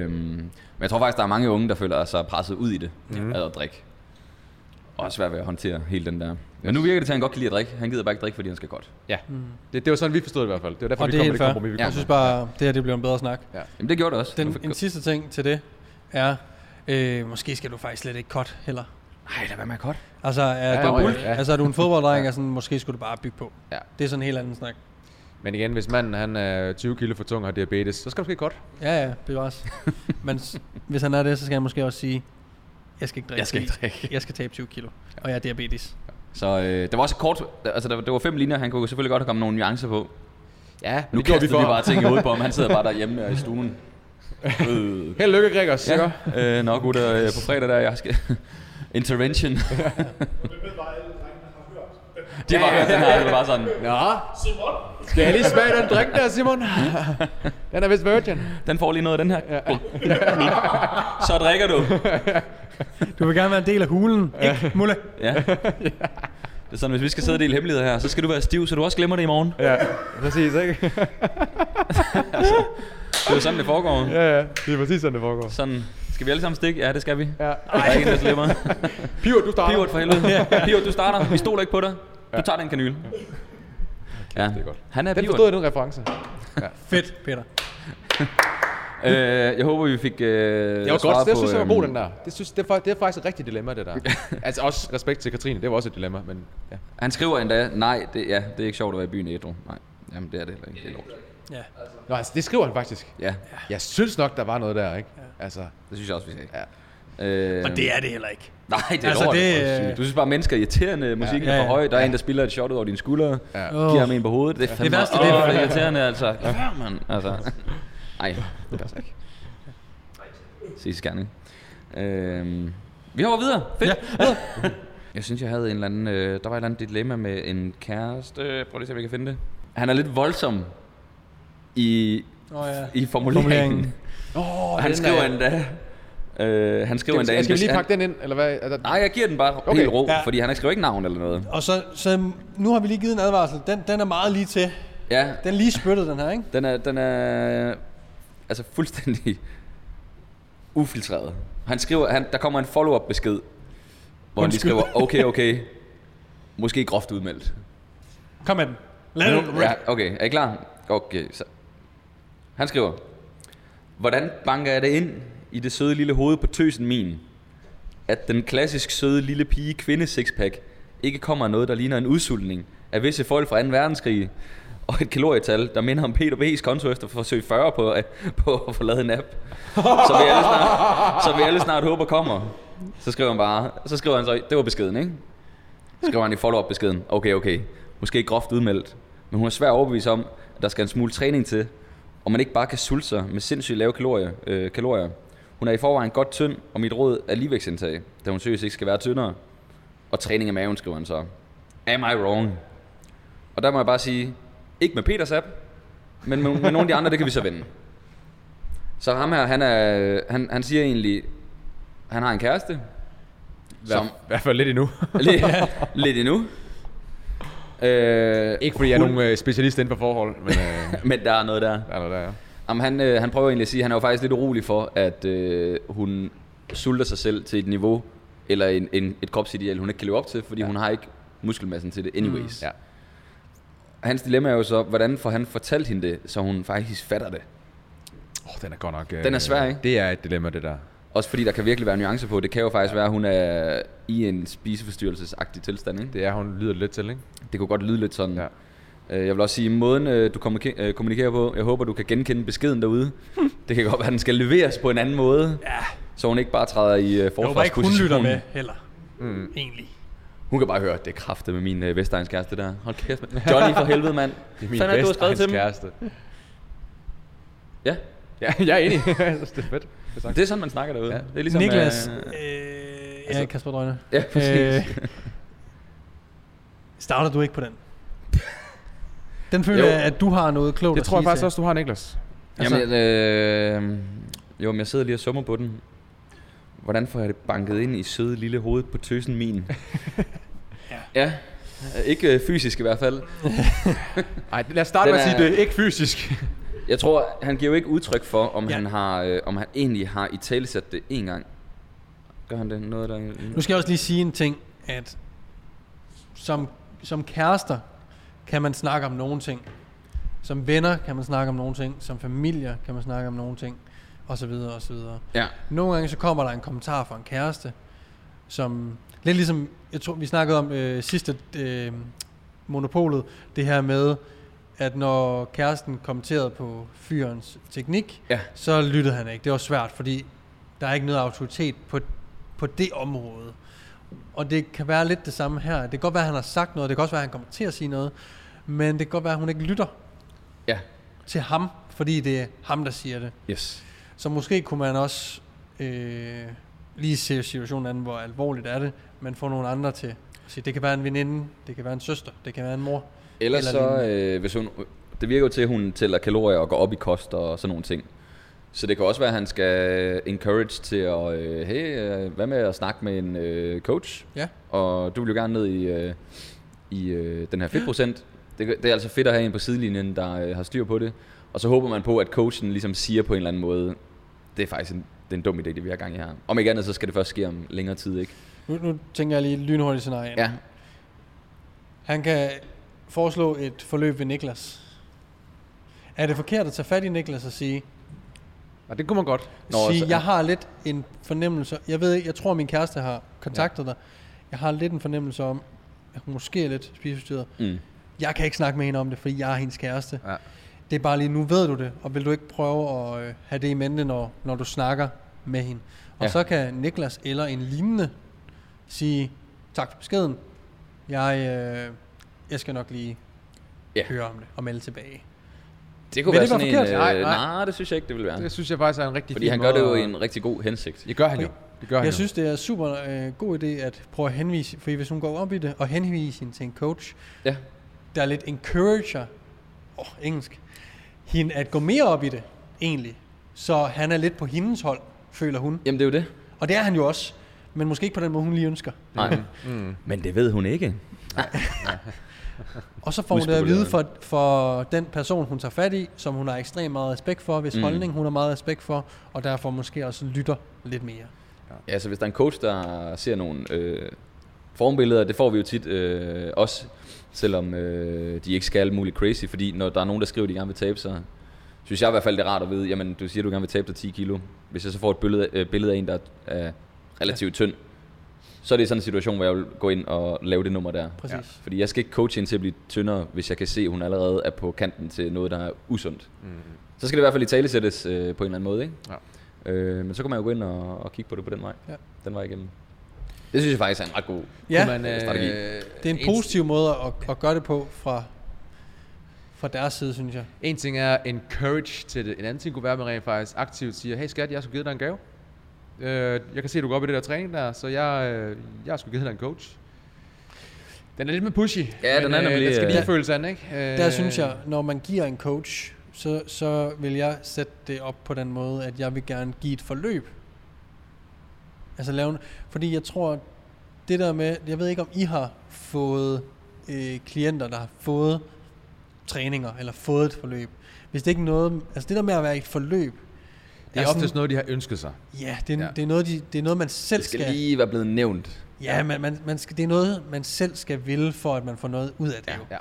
Øhm, men jeg tror faktisk, der er mange unge, der føler sig presset ud i det, Mhm. mm. af at drikke. Og svært ved at håndtere hele den der. Men nu virker det til, at han godt kan lide at drikke. Han gider bare ikke drikke, fordi han skal godt. Ja. Mm. Det, det, var sådan, vi forstod det i hvert fald. Det var derfor, Og vi det er kom med helt det fair. kompromis, vi Jeg kom synes med. bare, det her det bliver en bedre snak. Jamen det gjorde det også. Den, Hvorfor- en sidste ting til det er, øh, måske skal du faktisk slet ikke cut heller. Ej, lad være med godt. Altså, er, Ja, du, ja, ja, ja. altså, er du en fodbolddreng, ja. sådan, måske skulle du bare bygge på. Ja. Det er sådan en helt anden snak. Men igen, hvis manden han er 20 kilo for tung og har diabetes, så skal du ske godt. Ja, ja, bevares. Men s- hvis han er det, så skal han måske også sige, jeg skal ikke drikke. Jeg skal ikke fordi Jeg skal tabe 20 kilo, og jeg er diabetes. Så øh, der var også kort, altså der, der var fem linjer, han kunne selvfølgelig godt have kommet nogle nuancer på. Ja, men Nu det gjorde kaster vi vi bare for. ting i hovedet på ham, han sidder bare derhjemme øh, i stuen. Øh, Held og lykke, Gregers. Ja. ja, øh, nå gutter, øh, på fredag der, jeg skal... Intervention. De var hørt den her, det var bare sådan. Nå. Simon. Skal jeg lige smage den drink der, Simon? den er vist virgin. Den får lige noget af den her. Så drikker du. Du vil gerne være en del af hulen, ikke, Mulle? Ja. Det er sådan, hvis vi skal sidde og dele hemmeligheder her, så skal du være stiv, så du også glemmer det i morgen. Ja, præcis, ikke? Det er jo sådan, det foregår. ja, ja. Det er præcis sådan, det foregår. Sådan. Skal vi alle sammen stikke? Ja, det skal vi. Ja. Der er ikke en, der slipper. Pivot, du starter. Pivot for helvede. Pivot, du starter. Vi stoler ikke på dig. Du tager den kanyle. Ja, det er godt. Han er Den forstod pivot. jeg, den reference. Fedt, Peter. Øh, jeg håber, vi fik øh, Det var svaret godt, det på, synes jeg var øhm, god, den der. Det, synes, det, er, fa- det er faktisk et rigtigt dilemma, det der. altså også respekt til Katrine, det var også et dilemma, men ja. Han skriver endda, nej, det, ja, det er ikke sjovt at være i byen ædru. Nej, jamen det er det heller ikke. Det er lort. Ja. Nå, altså, det skriver han faktisk. Ja, Jeg synes nok, der var noget der, ikke? Altså, det synes jeg også, vi sagde. Øh, Og det er det heller ikke. Nej, det er Altså, altså, lort. det, Det, øh, du synes bare, at mennesker er irriterende. Musikken Ja, er ja. for høj. Der er en, der spiller et shot ud over dine skuldre. Ja. Giver ham en på hovedet. Det er fandme værste, det er- Åh, det er irriterende, altså. Lad være, mand. Altså. Ej, det passer ikke. Ses gerne. Øhm, vi hopper videre. Fedt. Ja. jeg synes, jeg havde en eller anden... Øh, der var et eller andet dilemma med en kæreste. Øh, Prøv lige at se, om jeg kan finde det. Han er lidt voldsom i, Oh, ja. i formuleringen. Formuleringen. Oh, han skriver endda... Øh, han Skal, skriver endda... skal, en- skal vi lige han- pakke den ind, eller hvad? Altså, Er der, Nej, jeg giver den bare okay. Okay. helt ro, ja. Ja. fordi han har skrevet ikke navn eller noget. Og så, så nu har vi lige givet en advarsel. Den, den er meget lige til. Ja, Den er lige spyttet, den her, ikke? den er, den er altså fuldstændig ufiltreret. Han skriver, han, der kommer en follow-up besked, hvor han lige Undskyld. skriver, okay, okay, måske groft udmeldt. Kom med den. Lad den. Ja, okay, er I klar? Okay, så. Han skriver, hvordan banker jeg det ind i det søde lille hoved på tøsen min, at den klassisk søde lille pige kvinde sixpack ikke kommer af noget, der ligner en udsultning af visse folk fra 2. verdenskrig, og et kalorietal, der minder om Peter B's konto efter forsøg 40 på, at- på at få lavet en app, som vi alle snart, som vi alle snart håber kommer. Så skriver han bare, så skriver han så, det var beskeden, ikke? Så skriver han i follow-up beskeden, okay, okay, måske groft udmeldt, men hun er svær overbevist om, at der skal en smule træning til, og man ikke bare kan sulte sig med sindssygt lave kalorier. Øh, kalorier. Hun er i forvejen godt tynd, og mit råd er ligevægtsindtag, da hun seriøst ikke skal være tyndere. Og træning af maven, skriver han så. Am I wrong? Og der må jeg bare sige, ikke med Peters app, men med, med nogle af de andre, det kan vi så vende. Så ham her, han, er, han, han siger egentlig, han har en kæreste, som I hvert fald lidt endnu. lidt, lidt endnu. Øh, ikke fordi jeg er nogen øh, specialist inden for forhold, men øh, men der er noget der. der er noget der. er. Jamen, han, øh, han prøver egentlig at sige, at han er jo faktisk lidt urolig for, at øh, hun sulter sig selv til et niveau, eller en, en, et kropsideal, hun ikke kan leve op til, fordi ja. hun har ikke muskelmassen til det anyways. Mm. Ja. Hans dilemma er jo så, hvordan får han fortalt hende det, så hun faktisk fatter det? Oh, den er godt nok... Øh, Den er svær, ikke? Det er et dilemma, det der. Også fordi der kan virkelig være nuancer på. Det kan jo faktisk være, at hun er i en spiseforstyrrelsesagtig tilstand. Ikke? Det, Det er, hun lyder lidt til, ikke? det kunne godt lyde lidt sådan. Ja. Ja. Jeg vil også sige, måden øh, du kommunike- øh, kommunikerer på, jeg håber, du kan genkende beskeden derude. det kan godt være, at den skal leveres på en anden måde. Ja. Så hun ikke bare træder i øh, Jeg håber ikke, hun forsvarspositionen. lytter med heller. Mm. Egentlig. Hun kan bare høre, at det er kraftet med min øh, Vestegns kæreste der. Hold kæft, mand. Johnny for helvede, mand. Det er min Fanden det, du har bedste skrevet hans til dem? kæreste. Ja, Ja, jeg er enig. Jeg synes, det er fedt. Det er sagt. det er sådan, man snakker derude. Ja. Det er ligesom, Niklas, øh, øh, ja, Kasper Drøgne. ja, præcis. Øh, starter du ikke på den? Den føler Jo. jeg, at du har noget klogt Det at tror jeg sige faktisk til. også, du har, Niklas. Jamen, øh, jo, men jeg sidder lige og summer på den. Hvordan får jeg det banket ind i søde lille hoved på tøsen min? ja. ja. Øh, Ikke øh, fysisk i hvert fald. Nej, lad os starte Den med at sige, er- det er ikke fysisk. Jeg tror, han giver jo ikke udtryk for, om, Ja. ja. han, har, øh, om han egentlig har i talesat det en gang. Gør han det noget, der... Nu skal jeg også lige sige en ting, at som, som kærester kan man snakke om nogle ting. Som venner kan man snakke om nogle ting. Som familier kan man snakke om nogle ting. Og så videre, og så videre. Ja. Nogle gange så kommer der en kommentar fra en kæreste, som lidt ligesom, jeg tror vi snakkede om øh, sidste øh, monopolet, det her med, at når kæresten kommenterede på fyrens teknik, Ja. så lyttede han ikke. Det var svært, fordi der er ikke noget autoritet på, på det område. Og det kan være lidt det samme her. Det kan godt være, at han har sagt noget, det kan også være, at han kommer til at sige noget, men det kan godt være, at hun ikke lytter Ja. til ham, fordi det er ham, der siger det. Yes. Så måske kunne man også øh, lige se situationen an, hvor alvorligt er det, men få nogle andre til. Så det kan være en veninde, det kan være en søster, det kan være en mor. Ellers Eller så, øh, hvis hun, det virker jo til, at hun tæller kalorier og går op i kost og sådan nogle ting. Så det kan også være, at han skal encourage til at, øh, hey, øh, hvad med at snakke med en øh, coach? Ja. Og du vil jo gerne ned i, øh, i øh, den her fedtprocent. Det, det er altså fedt at have en på sidelinjen, der øh, har styr på det. Og så håber man på, at coachen ligesom siger på en eller anden måde, det er faktisk en, det er en dum idé, det vi har gang i her. Om ikke andet, så skal det først ske om længere tid, ikke? Nu, nu tænker jeg lige lynhurtigt scenarie. Ja. Han kan foreslå et forløb ved Niklas. Er det forkert at tage fat i Niklas og sige, Og det kunne man godt. Nå, Nå, sige, altså, jeg har lidt en fornemmelse, jeg ved ikke, jeg tror min kæreste har kontaktet ja. dig, jeg har lidt en fornemmelse om, at hun måske er lidt spiseforstyrret. Mm. Jeg kan ikke snakke med hende om det, fordi jeg er hendes kæreste. Ja. Det er bare lige, nu ved du det, og vil du ikke prøve at øh, have det i mente, når, når du snakker med hende. Og ja. Ja. så kan Niklas eller en lignende sige, tak for beskeden, jeg, øh, jeg skal nok lige ja. Ja. høre om det og melde tilbage. Det kunne Vil være det være sådan en... forkert? Øh, Nej, nej, nej. nej, det synes jeg ikke, det vil være. Det synes jeg faktisk er en rigtig Fordi fin han gør det måde jo i at- en rigtig god hensigt. Det gør han jo. Det gør han Jeg jo. synes, det er super øh, god idé at prøve at henvise, for hvis hun går op i det, og henvise hende til en coach, Ja. der er lidt encourager, åh, engelsk, hende at gå mere op i det, egentlig. Så han er lidt på hendes hold, føler hun. Jamen det er jo det. Og det er han jo også, men måske ikke på den måde, hun lige ønsker. Nej. Mm. Men det ved hun ikke. Og så får hun det at Udspekuleret. vide for, for den person, hun tager fat i, som hun har ekstremt meget respekt for, hvis mm. holdning hun har meget respekt for, og derfor måske også lytter lidt mere. Ja, så hvis der er en coach, der ser nogle øh, formbilleder, det får vi jo tit øh, også, selvom øh, de ikke skal alt muligt crazy, fordi når der er nogen, der skriver, at de gerne vil tabe sig, synes jeg i hvert fald, det er rart at vide, jamen du siger, du gerne vil tabe dig 10 kilo. Hvis jeg så får et billede, øh, billede af en, der er relativt tynd, så er det sådan en situation, hvor jeg vil gå ind og lave det nummer der. Præcis. Ja. Fordi jeg skal ikke coache hende til at blive tyndere, hvis jeg kan se, at hun allerede er på kanten til noget, der er usundt. Mm. Så skal det i hvert fald i tale sættes øh, på en eller anden måde, ikke? Ja. Øh, men så kan man jo gå ind og, og kigge på det på den vej. Ja. Den vej igennem. Det synes jeg faktisk er en ret god... Ja, Kunne man, øh, Strategi. det er en positiv måde at, at gøre det på fra, fra deres side, synes jeg. En ting er encourage til det. En anden ting kunne være, at man rent faktisk aktivt siger, hey skat, jeg har sgu givet dig en gave. Øh, jeg kan se, at du går op i det der træning der, så jeg, øh, jeg har sgu givet dig en coach. Den er lidt med pushy. Ja, den er øh, nemlig, Den skal lige øh, føles an, ikke? Øh, Der synes jeg, når man giver en coach, så, så vil jeg sætte det op på den måde, at jeg vil gerne give et forløb. Altså lave en, fordi jeg tror, det der med, jeg ved ikke om I har fået øh, klienter, der har fået træninger, eller fået et forløb. Hvis det ikke er noget, altså det der med at være i et forløb, Det er sådan- oftest noget, de har ønsket sig. ja, det er, Ja. ja. Det, er noget, de, det er noget, man selv Det skal, skal lige være blevet nævnt. ja, man, man, man skal, det er noget, man selv skal ville, for at man får noget ud af det. jo. Ja.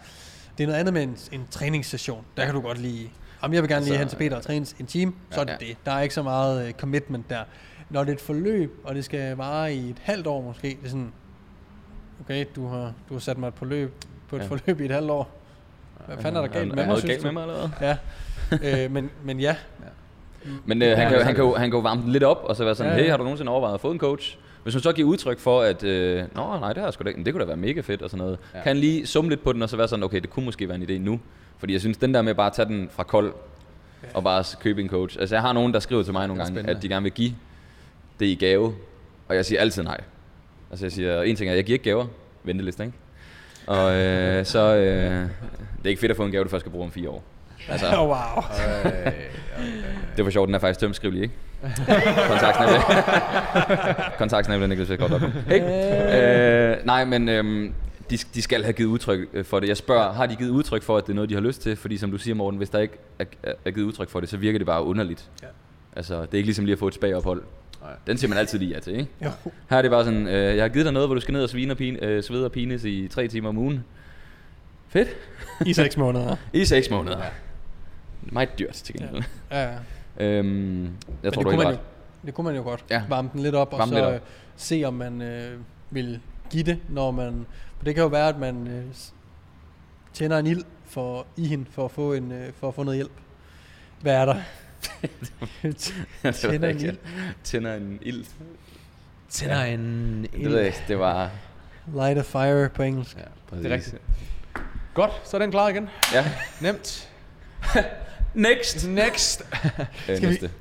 Det er noget andet med en, en træningssession. Der kan du godt lige... Om jeg vil gerne lige Så, hen til Peter og træne en time, så er det Altså, øh, ja. det. Der er ikke så meget øh, commitment der. Når det er et forløb, og det skal vare i et halvt år måske, det er sådan, okay, du har, du har sat mig på, løb, på et Ja. ja. forløb i et halvt år. Hvad fanden er der galt med mig, noget synes galt du? med mig allerede? Ja, øh, men, men ja, Men øh, han, kan, Ja, han, kan jo, han kan jo varme den lidt op, og så være sådan, Ja, ja. hey, har du nogensinde overvejet at få en coach? Hvis hun så giver udtryk for, at øh, Nå, nej, det har jeg sgu da ikke, men det kunne da være mega fedt og sådan noget. Ja. Kan han lige summe lidt på den, og så være sådan, okay, det kunne måske være en idé nu. Fordi jeg synes, den der med bare at tage den fra kold, og bare s- købe en coach. Altså, jeg har nogen, der skriver til mig nogle er gange, spændende. at de gerne vil give det i gave, og jeg siger altid nej. Altså, jeg siger, en ting er, jeg giver ikke gaver, venteliste, ikke? Og øh, så, øh, det er ikke fedt at få en gave, du først skal bruge om fire år. Altså, oh, wow. det var sjovt, den er faktisk tømt skrivelig, ikke? Kontaktsnabel. Kontaktsnabel, Niklas Godt hey. øh, nej, men øhm, de, de, skal have givet udtryk øh, for det. Jeg spørger, har de givet udtryk for, at det er noget, de har lyst til? Fordi som du siger, Morten, hvis der ikke er, er- er givet udtryk for det, så virker det bare underligt. Ja. Altså, det er ikke ligesom lige at få et spagophold. Nej. Den siger man altid lige ja til, ikke? Jo. Her er det bare sådan, øh, jeg har givet dig noget, hvor du skal ned og svine og pine, øh, svede og pines i tre timer om ugen. Fedt. I seks måneder. I seks måneder. Meget dyrt til gengæld. Ja. Ja, ja. Øhm, jeg tror, Men du det, er kunne helt man ret. jo, det kunne man jo godt. Ja. Ja. Varme den lidt op, Varme og den så lidt øh, se, om man øh, vil give det, når man... For det kan jo være, at man øh, s- tænder en ild for, i hende for at, få en, øh, for at få noget hjælp. Hvad er der? Det ved jeg Tænder en ikke. ild. Tænder en ild. Tænder ja. en... Det ved jeg ikke, det var... Light a fire på engelsk. Ja, det er rigtigt. Godt, så er den klar igen. Ja. Nemt. Next! Next. Øh, vi- næste.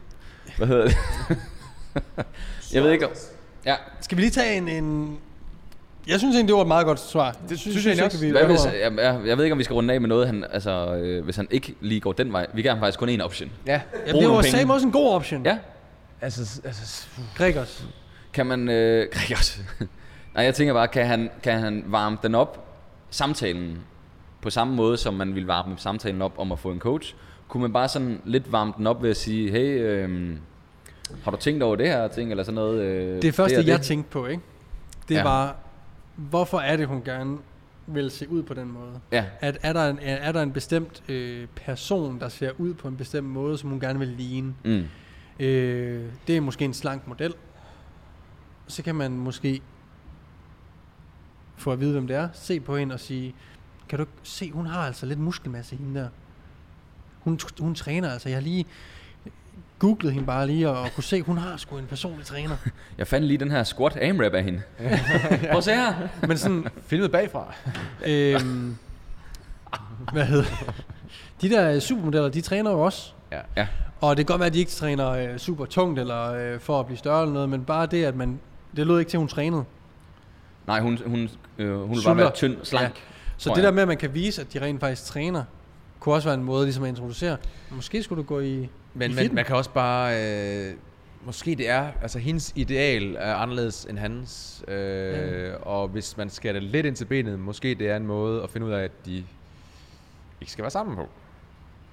Hvad hedder det? jeg ved ikke om... Ja. Skal vi lige tage en... en jeg synes egentlig, det var et meget godt svar. Det synes jeg også. Vi Hvad hvis, øver. jeg, jeg, jeg ved ikke, om vi skal runde af med noget, han, altså, øh, hvis han ikke lige går den vej. Vi giver ham faktisk kun én option. Ja, Jamen, bruge det var nogle penge. Sam også en god option. Ja. altså... altså Gregers. Kan man... Øh, Gregers. Nej, jeg tænker bare, kan han, kan han varme den op, samtalen, på samme måde, som man ville varme samtalen op om at få en coach? Kunne man bare sådan lidt varme den op ved at sige, hey, øh, har du tænkt over det her ting, eller sådan noget? Øh, Det første, og det jeg det. tænkte på, ikke? det Ja. ja. var, hvorfor er det, hun gerne vil se ud på den måde? Ja, At er der en, er er der en bestemt øh, person, der ser ud på en bestemt måde, som hun gerne vil ligne? mm. Øh, det er måske en slank model. Så kan man måske få at vide, hvem det er, se på hende og sige, kan du ikke se, hun har altså lidt muskelmasse, hende der. Hun, hun træner altså. Jeg har lige googlet hende bare lige, og, og kunne se, hun har sgu en personlig træner. jeg fandt lige den her squat AMRAP af hende. Prøv at se her. Men sådan, Filmet bagfra. Øhm, hvad hedder det? De der øh, supermodeller, de træner jo også. Ja. Ja. Og det kan godt være, at de ikke træner øh, super tungt, eller øh, for at blive større eller noget, men bare det, at man... Det lød ikke til, at hun trænede. Nej, hun, hun, øh, hun vil bare Sulter. være tynd, slank. Ja. Ja. Så Tror det jeg. der med, at man kan vise, at de rent faktisk træner, kunne også være en måde ligesom at introducere. Måske skulle du gå i, i Men man, fitness. man kan også bare... Øh, måske det er... Altså, hendes ideal er anderledes end hans. Øh, ja. Og hvis man skærer det lidt ind til benet, måske det er en måde at finde ud af, at de ikke skal være sammen på.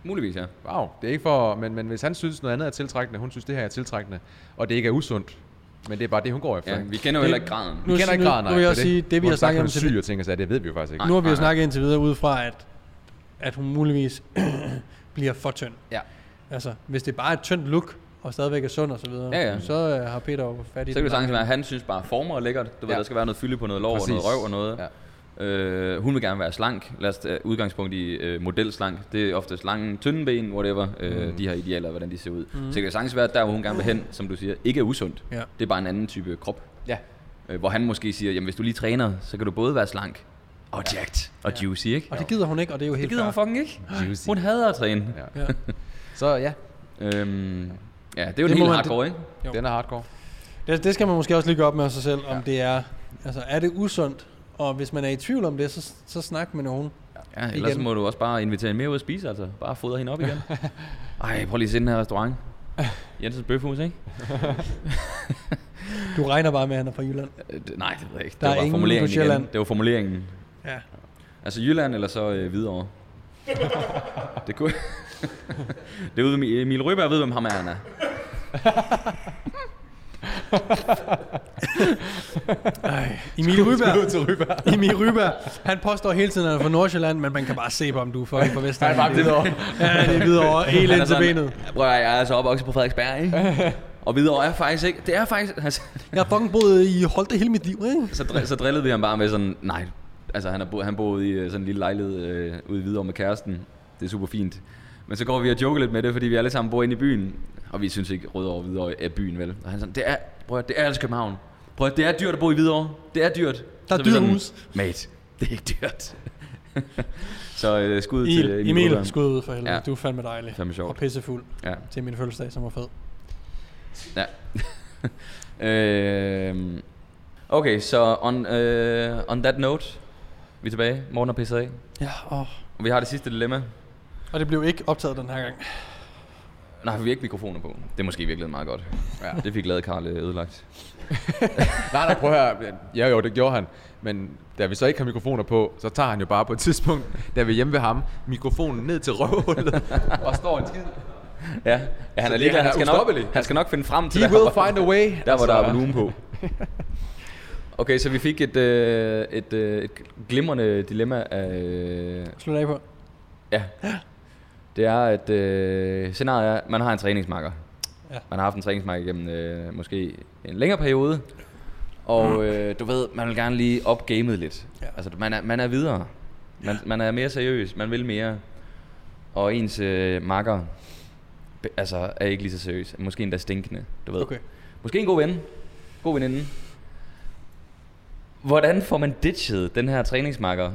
Muligvis, ja. Wow, det er ikke for... Men, men hvis han synes noget andet er tiltrækkende, hun synes det her er tiltrækkende, og det ikke er usundt, men det er bare det, hun går efter. ja. Ja, Vi kender jo heller ikke graden. vi Nu- kender ikke nu- graden, nu vil jeg også sige, det, vi har snakket om til til det- syg og ting og sager, det ved vi jo faktisk ikke. Nu har vi nej, jo nej. snakket indtil videre ud fra, at, at hun muligvis bliver for tynd. Ja. Altså, hvis det bare er et tyndt look, og stadigvæk er sund og så videre, Ja, ja. så øh, har Peter jo fat i Så kan det den sagtens lange være, ende. at han synes bare, former er lækkert. Du ved, Ja. der skal være noget fylde på noget lår og noget Præcis. røv og noget. Ja. Øh, hun vil gerne være slank. Lad os tage udgangspunkt i øh, modelslank. Det er ofte slangen, tynde ben, whatever. Øh, De her idealer, hvordan de ser ud. Mm. Så det kan sagtens være, at der, hvor hun gerne vil hen, som du siger, ikke er usundt. Ja. Det er bare en anden type krop. Ja. Øh, hvor han måske siger, jamen hvis du lige træner, så kan du både være slank og jacked og juicy, ikke? Og det gider hun ikke, og det er jo helt det gider hun fair. fucking ikke. Juicy. Hun hader at træne. Ja. Ja. Så ja, Øhm, ja, det er jo Det det en må helt man- hardcore, ikke? Jo. den er hardcore. Det, det skal man måske også lige gå op med sig selv, om det er, altså er det usundt? Og hvis man er i tvivl om det, så, så snak med nogen. Ja, ellers Igen. igen. må du også bare invitere hende mere ud at spise, altså. Bare fodre hende op igen. Ej, prøv lige at se den her restaurant. Jensens Bøfhus, ikke? Du regner bare med, at han er fra Jylland. Øh, det- Nej, det ved jeg ikke. Det Der var er bare ingen på formuleringen Sjælland. igen. Det var formuleringen. Ja. Altså Jylland eller så øh, Hvidovre. det kunne... det er ude med Emil Røberg ved, hvem ham er, han er. Emil Ryberg. til Ryberg. Emil Ryberg. Han påstår hele tiden, at han er fra Nordsjælland, men man kan bare se på, om du er fucking fra Vestland. Han er bare Hvidovre. Ja, det er videre helt Han er ind til sådan, benet. Prøv at høre, jeg er altså opvokset på Frederiksberg, ikke? Og Hvidovre er faktisk ikke... Det er faktisk... Altså, Jeg har fucking boet i Holte hele mit liv, ikke? så, dr- så drillede vi ham bare med sådan, nej, altså han, er bo, han boede i øh, sådan en lille lejlighed øh, ude i Hvidovre med kæresten. Det er super fint. Men så går vi og joker lidt med det, fordi vi alle sammen bor inde i byen. Og vi synes ikke, Rødovre og Hvidovre er byen, vel? Og han er sådan, det er, prøv at, høre, det er altså København. Prøv at, høre, det er dyrt at bo i Hvidovre. Det er dyrt. Der er Så vi dyre sådan, huse. Mate, det er ikke dyrt. så øh, skud til Emil, Emil Emil Rødberg. skud ud for helvede. Ja. Ja. Du er fandme dejlig. Fandme sjovt. Og pissefuld Ja, til min fødselsdag, som var fed. ja. øh, okay, så on, øh, on that note, vi er tilbage. Morgen og pisset af. Ja, og, Og vi har det sidste dilemma. og det blev ikke optaget den her gang. Nej, vi har ikke mikrofoner på. Det er måske virkelig meget godt. Ja. Det fik lavet Karl øh, ødelagt. Nej, nej, prøv at høre. Ja, jo, det gjorde han. Men da vi så ikke har mikrofoner på, så tager han jo bare på et tidspunkt, da vi er hjemme ved ham, mikrofonen ned til røvhullet og står en skid. Ja, ja han, er det- lige, han han, er han, skal nok, ustoppelig. han skal nok finde frem til, He der, will hvor- find a way. der, hvor der Altså, er volumen på. Okay, så vi fik et, øh, et, øh, et glimrende dilemma af... Øh, Slut af på. ja. Det er, at øh, scenariet er, at man har en træningsmarker. Ja. Ja. Man har haft en træningsmarker gennem øh, måske en længere periode. Og øh, du ved, man vil gerne lige op gamet lidt. Ja. Ja. Altså, man er, man er videre. Man, ja. man er mere seriøs, man vil mere. Og ens øh, makker be- altså, er ikke lige så seriøs. Måske endda stinkende, du ved. Okay. Måske en god ven. God veninde. Hvordan får man ditchet den her træningsmarker?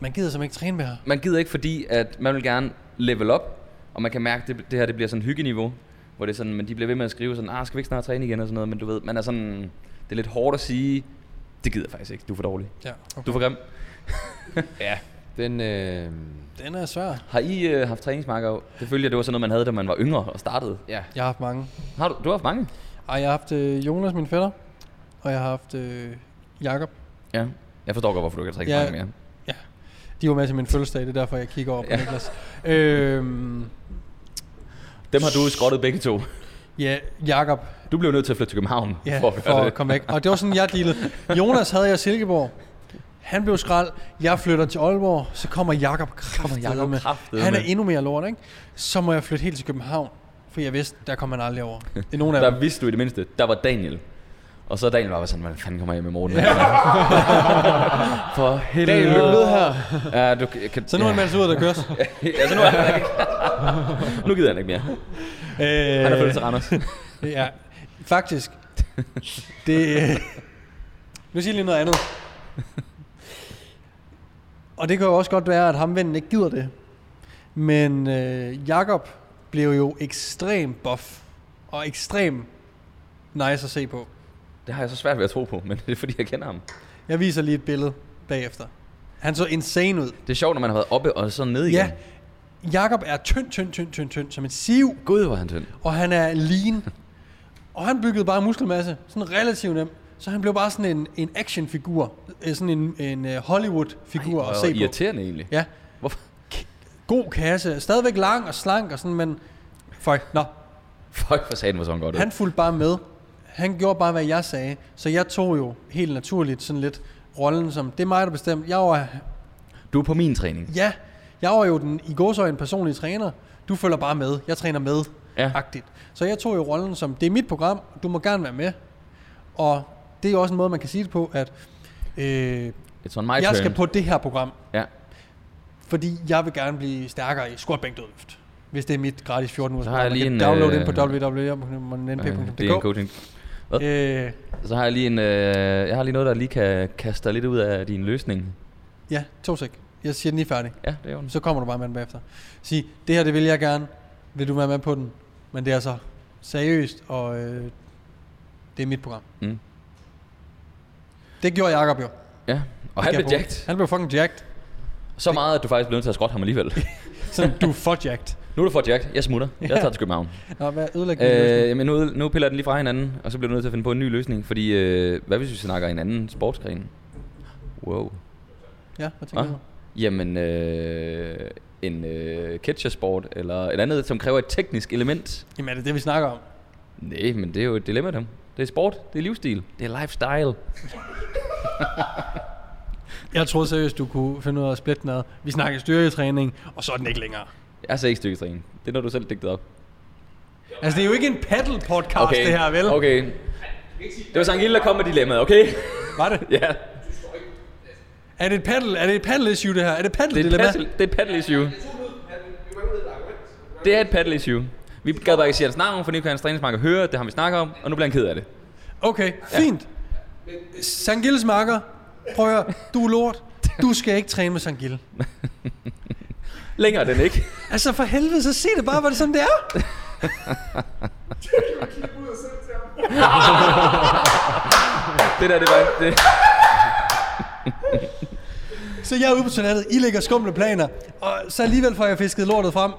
Man gider simpelthen ikke træne med her. Man gider ikke, fordi at man vil gerne level up, og man kan mærke, at det, det her det bliver sådan hyggeniveau, hvor det er sådan, men de bliver ved med at skrive sådan, ah, skal vi ikke snart træne igen og sådan noget, men du ved, man er sådan, det er lidt hårdt at sige, det gider jeg faktisk ikke, du er for dårlig. Ja, okay. Du er for grim. Ja, den... Øh, Den er svær. Har I øh, haft træningsmarker? Det følger, det var sådan noget, man havde, da man var yngre og startede. ja, Jeg har haft mange. Har du, du har haft mange? Ej, jeg har haft øh, Jonas, min fætter. Og jeg har haft øh, Jakob. Ja. Jeg forstår godt, hvorfor du ikke har Ja. træningsmarker mere. Ja, de var med til min fødselsdag, det er derfor, jeg kigger over på ja. Ja. Niklas. Øhm, Dem har du skrottet begge to. ja, Jakob, Du blev nødt til at flytte til København ja, for at for gøre at det. komme væk. Og det var sådan, jeg dealede. Jonas havde jeg i Silkeborg. Han blev skrald. Jeg flytter til Aalborg. Så kommer Jakob Jakob kraftedeme. kraftedeme. Han er endnu mere lort, ikke? Så må jeg flytte helt til København. For jeg vidste, der kommer han aldrig over. Det er nogen af dem. Der vidste du i det mindste, der var Daniel. Og så er Daniel bare sådan, hvordan fanden kommer jeg med Morten? For helvede. Daniel, lykke med her. Ja, du kan... Så nu er han ja. meldt sig ud, der køres. altså, nu, er han ikke. nu gider han ikke mere. Øh, Han er flyttet til Randers. Ja, faktisk. Det... øh, Nu siger jeg lige noget andet. Og det kan jo også godt være, at ham vennen ikke gider det. Men øh, Jakob blev jo ekstrem buff. Og ekstrem nice at se på. Det har jeg så svært ved at tro på, men det er fordi, jeg kender ham. Jeg viser lige et billede bagefter. Han så insane ud. Det er sjovt, når man har været oppe og så ned igen. Ja, Jakob er tynd, tynd, tynd, tynd, tynd, som en siv. Gud, hvor er han tynd. og han er lean. og han byggede bare muskelmasse, sådan relativt nem. Så han blev bare sådan en, en actionfigur, øh, sådan en, en øh, Hollywood-figur at Og se på. irriterende egentlig. Ja, Hvorfor? god kasse, stadigvæk lang og slank og sådan, men fuck, nå, Fuck, for satan, hvor så han godt ud. han fulgte bare med. Han gjorde bare, hvad jeg sagde. Så jeg tog jo helt naturligt sådan lidt rollen som, det er mig, der bestemte. Jeg var, Du er på min træning. ja, jeg var jo den i gåsøjne personlige træner. Du følger bare med. Jeg træner med. Ja. agtigt Så jeg tog jo rollen som, det er mit program, du må gerne være med. Og det er jo også en måde, man kan sige det på, at øh, jeg It's on my turn. skal på det her program, Ja. fordi jeg vil gerne blive stærkere i squat bænk dødløft. Hvis det er mit gratis 14 ugers Så har program. jeg Man lige kan en, downloade ind på øh, Øh, Det er en www.np.dk. coaching. Øh, Så har jeg lige en, øh, jeg har lige noget, der lige kan kaste dig lidt ud af din løsning. ja, to sek. Jeg siger den lige færdig. Ja, det er jo den. Så kommer du bare med den bagefter. Sig, det her det vil jeg gerne. Vil du være med på den? Men det er altså seriøst, og øh, det er mit program. Mm. Det gjorde Jacob jo. Ja. Og han Skal blev jeg på? jacked. Han blev fucking jacked. Så meget, at du faktisk blev nødt til at skrotte ham alligevel. Sådan, du er for jacked. nu er du for jacked. Jeg smutter. Jeg tager til København. Nå, hvad ødelægger Øh, øh, jamen nu, nu piller jeg den lige fra hinanden, og så bliver du nødt til at finde på en ny løsning, fordi øh, hvad hvis vi snakker en anden sportsgren? Wow. Ja, hvad tænker Ah, du? jamen, øh, en øh, catchersport, eller et andet, som kræver et teknisk element. Jamen er det det, vi snakker om? Nej, men det er jo et dilemma, dem. Det er sport, det er livsstil, det er lifestyle. Jeg troede seriøst, du kunne finde ud af at splitte noget. Vi snakker styrketræning, og så er den ikke længere. Jeg er så ikke stykketræning. Det er noget, du selv digtede op. Altså, det er jo ikke en paddle podcast det her, vel? Okay. Det var Sankt Hilde, der kom med dilemmaet, okay? Var det? ja. Er det et paddle? Er det et paddle issue, det her? Er det paddle Det er, et dilemma? paddle, det er et paddle issue. Det er et paddle issue. Vi gad bare ikke sige hans navn, for nu kan hans træningsmarker høre, det har vi snakket om, og nu bliver han ked af det. Okay, fint. Sangilles makker, prøv at høre, du er lort. Du skal ikke træne med Sangil. Længere den ikke. Altså for helvede, så sig det bare, hvad det som det er. Det der, det var... Det. Så jeg er ude på toilettet, I lægger skumle planer, og så alligevel får jeg fisket lortet frem.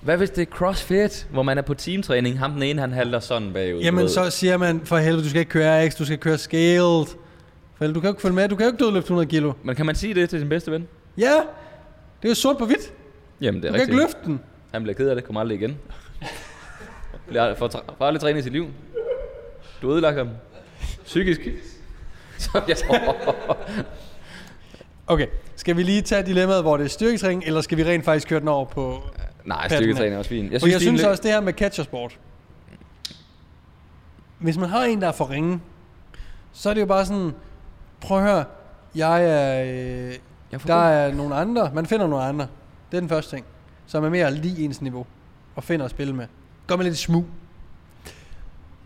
Hvad hvis det er CrossFit, hvor man er på teamtræning? Ham den ene, han halter sådan bagud. du Jamen ved. så siger man, for helvede, du skal ikke køre RX, du skal køre scaled. For helvede, du kan jo ikke følge med, du kan jo ikke dødløfte 100 kilo. Men kan man sige det til sin bedste ven? Ja, det er jo sort på hvidt. Jamen, det er Du kan rigtigt. ikke løfte den. Han bliver ked af det, kommer aldrig igen. Bliver aldrig- får, tra- får aldrig trænet i sit liv. Du ødelagt ham. Psykisk. Så jeg Okay, skal vi lige tage dilemmaet, hvor det er styrketræning, eller skal vi rent faktisk køre den over på... Nej, styrketræning er også fint. Jeg synes, jeg det er en synes lidt- også, det her med catchersport. Hvis man har en, der er for ringe, så er det jo bare sådan, prøv at høre, jeg er, øh, Jeg er for der god. er nogle andre, man finder nogle andre. Det er den første ting, som er mere lige ens niveau, og finder at spille med. Gør man lidt smug.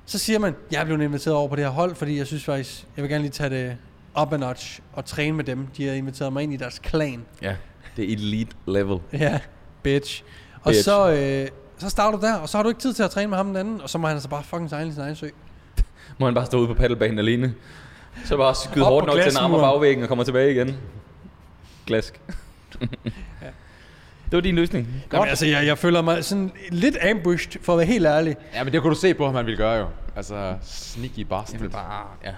Så siger man, jeg er blevet inviteret over på det her hold, fordi jeg synes faktisk, jeg vil gerne lige tage det up a notch og træne med dem. De har inviteret mig ind i deres klan. Ja, det er elite level. Ja, bitch. Og Bitch. så, øh, så starter du der, og så har du ikke tid til at træne med ham den anden, og så må han altså bare fucking sejle i sin egen sø. Må han bare stå ude på paddlebanen alene. Så bare skyde Op hårdt på nok til en arm og glasmuren. bagvæggen og kommer tilbage igen. Glask. Det var din løsning. Jamen, altså, jeg, jeg føler mig sådan lidt ambushed, for at være helt ærlig. Ja, men det kunne du se på ham, han ville gøre jo. Altså, sneaky bastard. Jamen, bare, ja.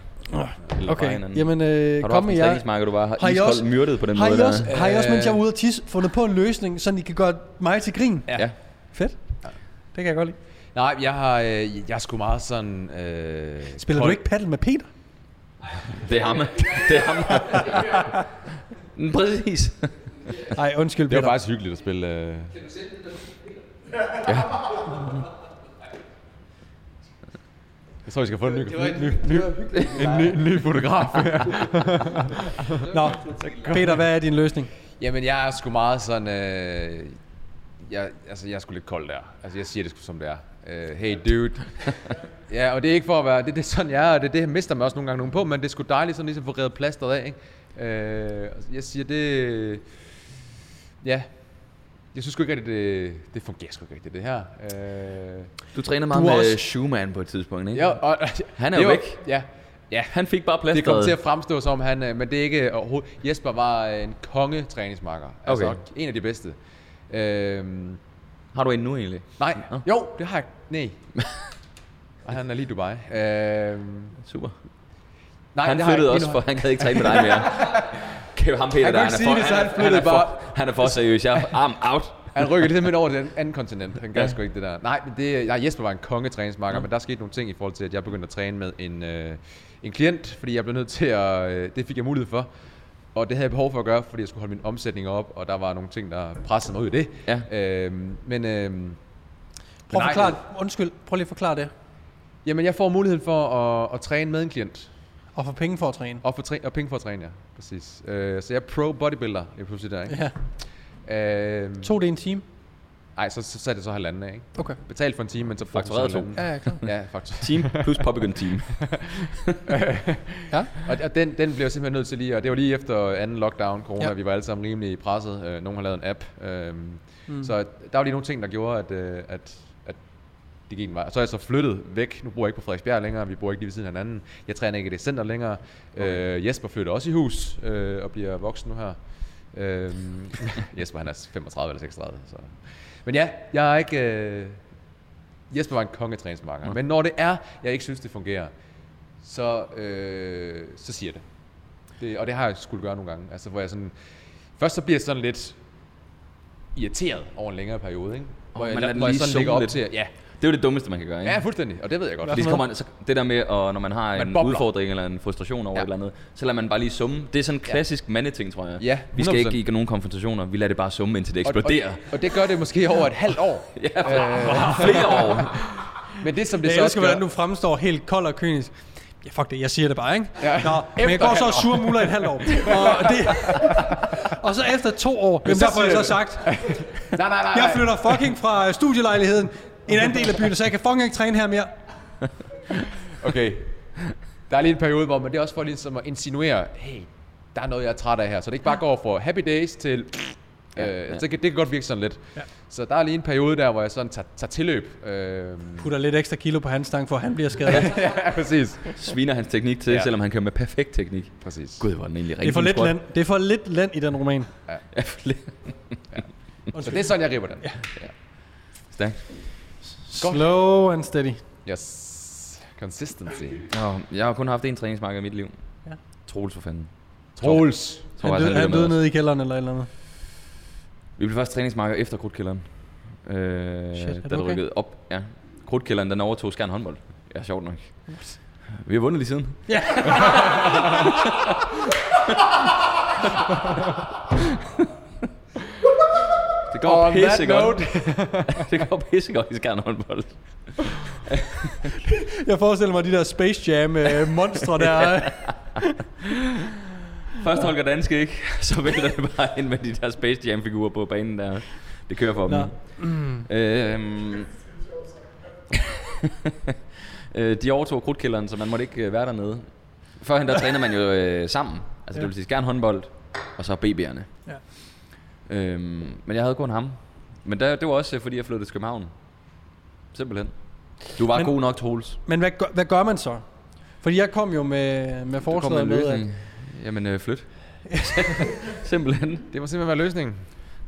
Okay, hinanden. jamen øh, Har du kom haft med en jer. træningsmarker, du bare har, Har I også- iskoldt myrdet på den Har måde I, også, der? har I også, mens jeg var ude at tisse, fundet på en løsning, så I kan gøre mig til grin? Ja. Øh. Ja. Fedt. Det kan jeg godt lide. Nej, jeg har, øh, jeg er sgu meget sådan... Øh, Spiller du kold- ikke paddle med Peter? Det er ham. Det er ham. Mm, Præcis. Nej, undskyld Det Peter. var faktisk hyggeligt at spille... Øh, Ja. jeg tror, vi skal få en ny, ny, ny, en ny, en ny fotograf. Nå, Peter, hvad er din løsning? Jamen, jeg er sgu meget sådan... Øh, jeg, altså, jeg er sgu lidt kold der. Altså, jeg siger det sgu, som det er. Øh, hey, dude. ja, og det er ikke for at være... Det, det er sådan, jeg er, og det, det mister man også nogle gange nogen på, men det er sgu dejligt sådan ligesom at få reddet plasteret af, ikke? Øh, og jeg siger det... Ja, jeg synes sgu ikke rigtigt, det, det fungerer sgu ikke rigtigt, det her. Øh, Du træner meget Du er med også- også... Schumann på et tidspunkt, ikke? ja, og, Han er det jo var- væk. Ja, ja. Han fik bare plads. Det kom til at fremstå som han, øh, men det er ikke overhovedet. Jesper var øh, en konge træningsmarker. Altså Okay. en af de bedste. Øhm, Har du en nu egentlig? nej, Nå. jo, det har jeg. Nej. Og han er lige i Dubai. Øhm, Super. nej, Han det har jeg flyttede ikke. også, for han gad ikke træne med dig mere. Kæft ham Peter, Han kunne der, ikke sige det, så han han, er flyttede for, bare. han er for seriøs. Jeg er arm out. Han rykker ligesom ind over til den anden kontinent. Han gør sgu ikke det der. Nej, men det, nej, Jesper var en kongetræningsmarker, mm. men der skete nogle ting i forhold til, at jeg begyndte at træne med en, øh, en klient, fordi jeg blev nødt til at... Øh, det fik jeg mulighed for. Og det havde jeg behov for at gøre, fordi jeg skulle holde min omsætning op, og der var nogle ting, der pressede mig ud i det. Ja. Øhm, men øhm, Prøv at Nej. forklare, undskyld, prøv lige at forklare det. Jamen, jeg får muligheden for at, at træne med en klient. Og få penge for at træne. Og, for træ- og penge for at træne, ja. Præcis. Øh, så jeg er pro bodybuilder, jeg pludselig der, ikke? Ja. Ja. Øh, To det en time. ej, så, så, så er det så halvanden af, ikke? Okay. Betalt for en time, men så faktisk Faktureret to. Ja, ja, klar. Ja, faktisk. Team plus Poppygon Team. Ja. Og, og den, den blev jeg simpelthen nødt til lige, og det var lige efter anden lockdown, corona, Ja. ja. vi var alle sammen rimelig presset. Øh, nogen har lavet en app. Øh, mm. Så der var lige nogle ting, der gjorde, at, øh, at, at det gik en vej. Og så er jeg så flyttet væk. Nu bor jeg ikke på Frederiksbjerg længere, vi bor ikke lige ved siden af hinanden. Jeg træner ikke i det center længere. Okay. Øh, Jesper flytter også i hus øh, og bliver voksen nu her. Øh, Jesper han er 35 eller 36. Så. Men ja, jeg er ikke... Øh, Jesper var en kongetræningsmarker. Men når det er, jeg ikke synes, det fungerer, så, øh, så siger jeg det. det. Og det har jeg skulle gøre nogle gange. Altså, hvor jeg sådan, først så bliver jeg sådan lidt irriteret over en længere periode, ikke? Hvor Åh, jeg, man lader den hvor jeg lige sådan ligger zone op lidt. til, ja, Det er jo det dummeste, man kan gøre, ikke? ja, fuldstændig, og det ved jeg godt. Fordi så kommer man, så det der med, at når man har Man en bobler. udfordring eller en frustration over Ja. et eller andet, så lader man bare lige summe. Det er sådan en klassisk mandeting, tror jeg. Ja, vi skal 100%. ikke i nogen konfrontationer. Vi lader det bare summe, indtil det Og, og, eksploderer. og, det gør det måske over et halvt år. ja, flere år. Men det, som det Jeg så også elsker, gør, hvordan du fremstår helt kold og kynisk. Ja, fuck det, jeg siger det bare, ikke? Ja. Nå, men jeg Efter går så og halvt år. sur muller i et halvt år. Og, det, og så efter to år, jamen, så der får jeg siger så du- sagt, Nej, nej, nej. jeg nej. flytter fucking fra øh, studielejligheden en anden del af byen, så jeg kan fucking ikke træne her mere. Okay. Der er lige en periode, hvor man det er også for ligesom at insinuere, hey, der er noget, jeg er træt af her. Så det ikke bare går fra happy days til... Øh, ja. ja. det, kan, det kan godt virke sådan lidt. Ja. Så der er lige en periode der, hvor jeg sådan tager, tager tilløb. Øh, Putter lidt ekstra kilo på hans stang, for han bliver skadet. Det ja, præcis. Sviner hans teknik til, Ja. selvom han kører med perfekt teknik. præcis. Gud, hvor er den egentlig rigtig er for lidt sprøjt. land. Det er for lidt land i den roman. Ja, for lidt. Så det er sådan, jeg river den. Ja. Stærkt. Slow and steady. Yes. Consistency. Nå, jeg har kun haft én træningsmarked i mit liv. Ja. Ja. Troels for fanden. Troels. Jeg Tror, Han faktisk, døde, han lytter med døde os. nede i kælderen eller et eller andet. Vi blev først træningsmarker efter krudtkælderen. Øh, Shit, er det da det okay? rykkede op. Ja. Krudtkælderen, den overtog Skjern håndbold. Ja, sjovt nok. Vi har vundet lige siden. Ja. det går On that pissegodt. det går pissegodt i Skjern håndbold. Jeg forestiller mig de der Space Jam øh, monstre der. Først Holger Danske ikke, så vælter det bare ind med de der Space Jam figurer på banen der. Det kører for dem. Øhm, Øh, de overtog krudtkælderen, så man måtte ikke øh, være dernede. Førhen der træner man jo øh, sammen. Altså ja. Ja. det vil sige gerne håndbold, og så BB'erne. Ja. Øhm, men jeg havde kun ham. Men der, det var også øh, fordi, jeg flyttede til København. Simpelthen. Du var Men- men, god nok, Troels. Men hvad gør, hvad gør man så? Fordi jeg kom jo med, med Du kom med forslaget en med, at løsning. Jamen, øh, flyt. Simpelthen. Det må simpelthen være løsningen.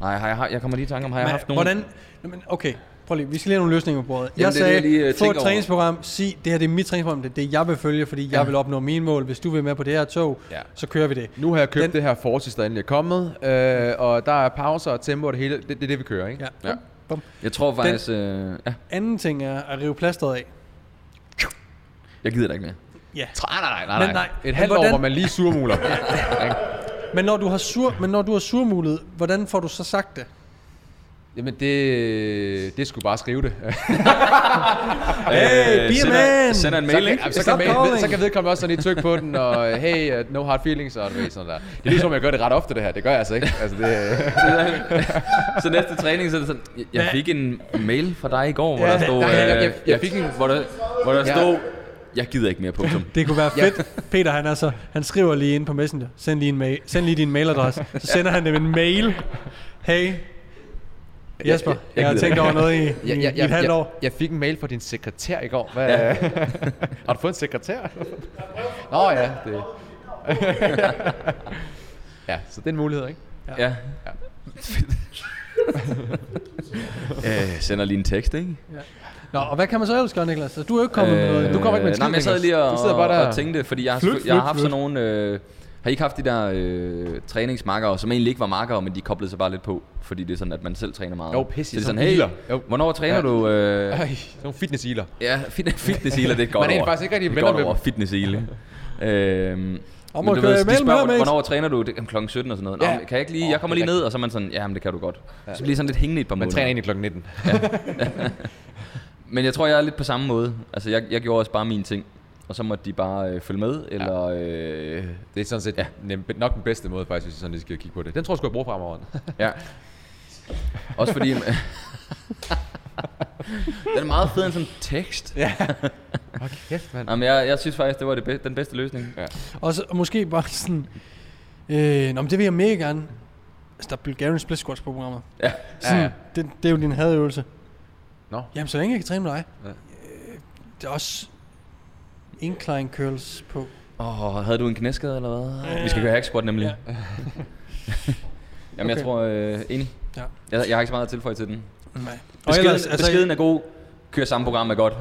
Nej, har jeg, har- jeg kommer lige i tanke om, har jeg Men haft nogen... Hvordan, Nå, men okay, prøv lige, vi skal lige have nogle løsninger på bordet. Jamen, Jeg det er det, sagde, jeg lige, øh, få tænker et over. træningsprogram, sig, det her det er mit træningsprogram, det er det, jeg vil følge, fordi jeg Ja. vil opnå mine mål. Hvis du vil med på det her tog, Ja. så kører vi det. Nu har jeg købt Den- den... det her Fortis, der endelig er kommet, øh, og der er pauser og tempo og det hele. Det, det er det, vi kører, ikke? Ja. Ja. Bum. Jeg tror faktisk... Øh, ja, Anden ting er at rive plasteret af. jeg gider da ikke mere. Ja. Nej, nej, Men nej, nej. nej, nej. men Et halvt år, hvordan- hvor man lige surmuler. Ikke? Men når du har sur, men når du har surmulet, hvordan får du så sagt det? Jamen, det, det skulle bare skrive det. Hey, be a man! Øh, sender, sender en mail, så, ikke? kan, så, Stop kan ved, calling. så kan vedkommende også sådan lige tykke på den, og hey, uh, no hard feelings, og du ved, sådan der. Det er ligesom, jeg gør det ret ofte, det her. Det gør jeg altså ikke. Altså, det, så næste træning, så er det sådan, jeg- jeg fik en mail fra dig i går, hvor Ja, der stod, nej, jeg- jeg- øh, jeg fik en- hvor der, hvor der Ja. stod, jeg gider ikke mere, punktum. Det kunne være Ja. fedt. Peter, han, altså, han skriver lige ind på Messenger. Send lige, en mail, send lige din mailadresse. Så sender han dem en mail. Hey, Jesper, jeg, jeg, jeg har gider tænkt ikke. over noget i, i, ja, i et halvt jeg, år. jeg fik en mail fra din sekretær i går. Hvad, ja. har du fået en sekretær? Nå ja, det... ja, så det er en mulighed, ikke? Ja. øh, sender lige en tekst, ikke? Nå, og hvad kan man så ellers gøre, Niklas? Altså, Du er jo ikke kommet med noget. Øh, Du kommer ikke med en Nej, skid, men jeg sad lige Niklas. og, Du sidder bare der og og- tænkte, fordi jeg har, Flyt, flyt, jeg har flyt, haft sådan nogle... Øh, har I ikke haft de der øh, træningsmarkere, som egentlig ikke var markere, men de koblede sig bare lidt på, fordi det er sådan, at man selv træner meget. Jo, pisse, Så det er som sådan, hey, healer. Jo. hvornår træner Ja. du... Øh, Ej, sådan nogle fitness-healer. Ja, fit- fitness healer, det er et godt Man er ord. faktisk ikke rigtig det er et venner godt med ord, dem. fitness healer. øhm, Om men at du køre ved, de imellem her, spørger, mate. hvornår træner du? Det, kl. 17 og sådan noget. Ja. Ja. Nå, kan jeg ikke lige, jeg kommer det er lige ned, og så er man sådan, ja, men det kan du godt. Så bliver I sådan lidt hængende i et par Man måneder. træner egentlig kl. 19. Men jeg tror, jeg er lidt på samme måde. Altså, jeg, jeg gjorde også bare mine ting. Og så måtte de bare øh, følge med, eller... Ja. Øh, Det er sådan set ja. Ja. nem, nok den bedste måde, faktisk, hvis jeg sådan lige skal kigge på det. Den tror jeg sgu, jeg bruger fremover. ja. Også fordi... den er meget fed en sådan tekst. Ja. Hold kæft, mand. Jamen, jeg, jeg synes faktisk, det var det be- den bedste løsning. Ja. Og så og måske bare sådan... Øh, nå, men det vil jeg mega gerne. Altså, Der er Bulgarian Split Squats på programmet. Ja. Sådan, Ja, ja. ja, ja. Det, det, er jo din hadøvelse. Nå. Jamen, så længe jeg kan træne med dig. Ja. Ja. Det er også incline curls på. Åh, oh, havde du en knæskade eller hvad? Vi skal køre hack squat nemlig. Ja. Jamen, okay. Okay. jeg tror... Øh, enig. Ja. Jeg, jeg har ikke så meget at tilføje til den. Nej. Og Beskeden, ellers, altså, beskeden er god. Kør samme program er godt.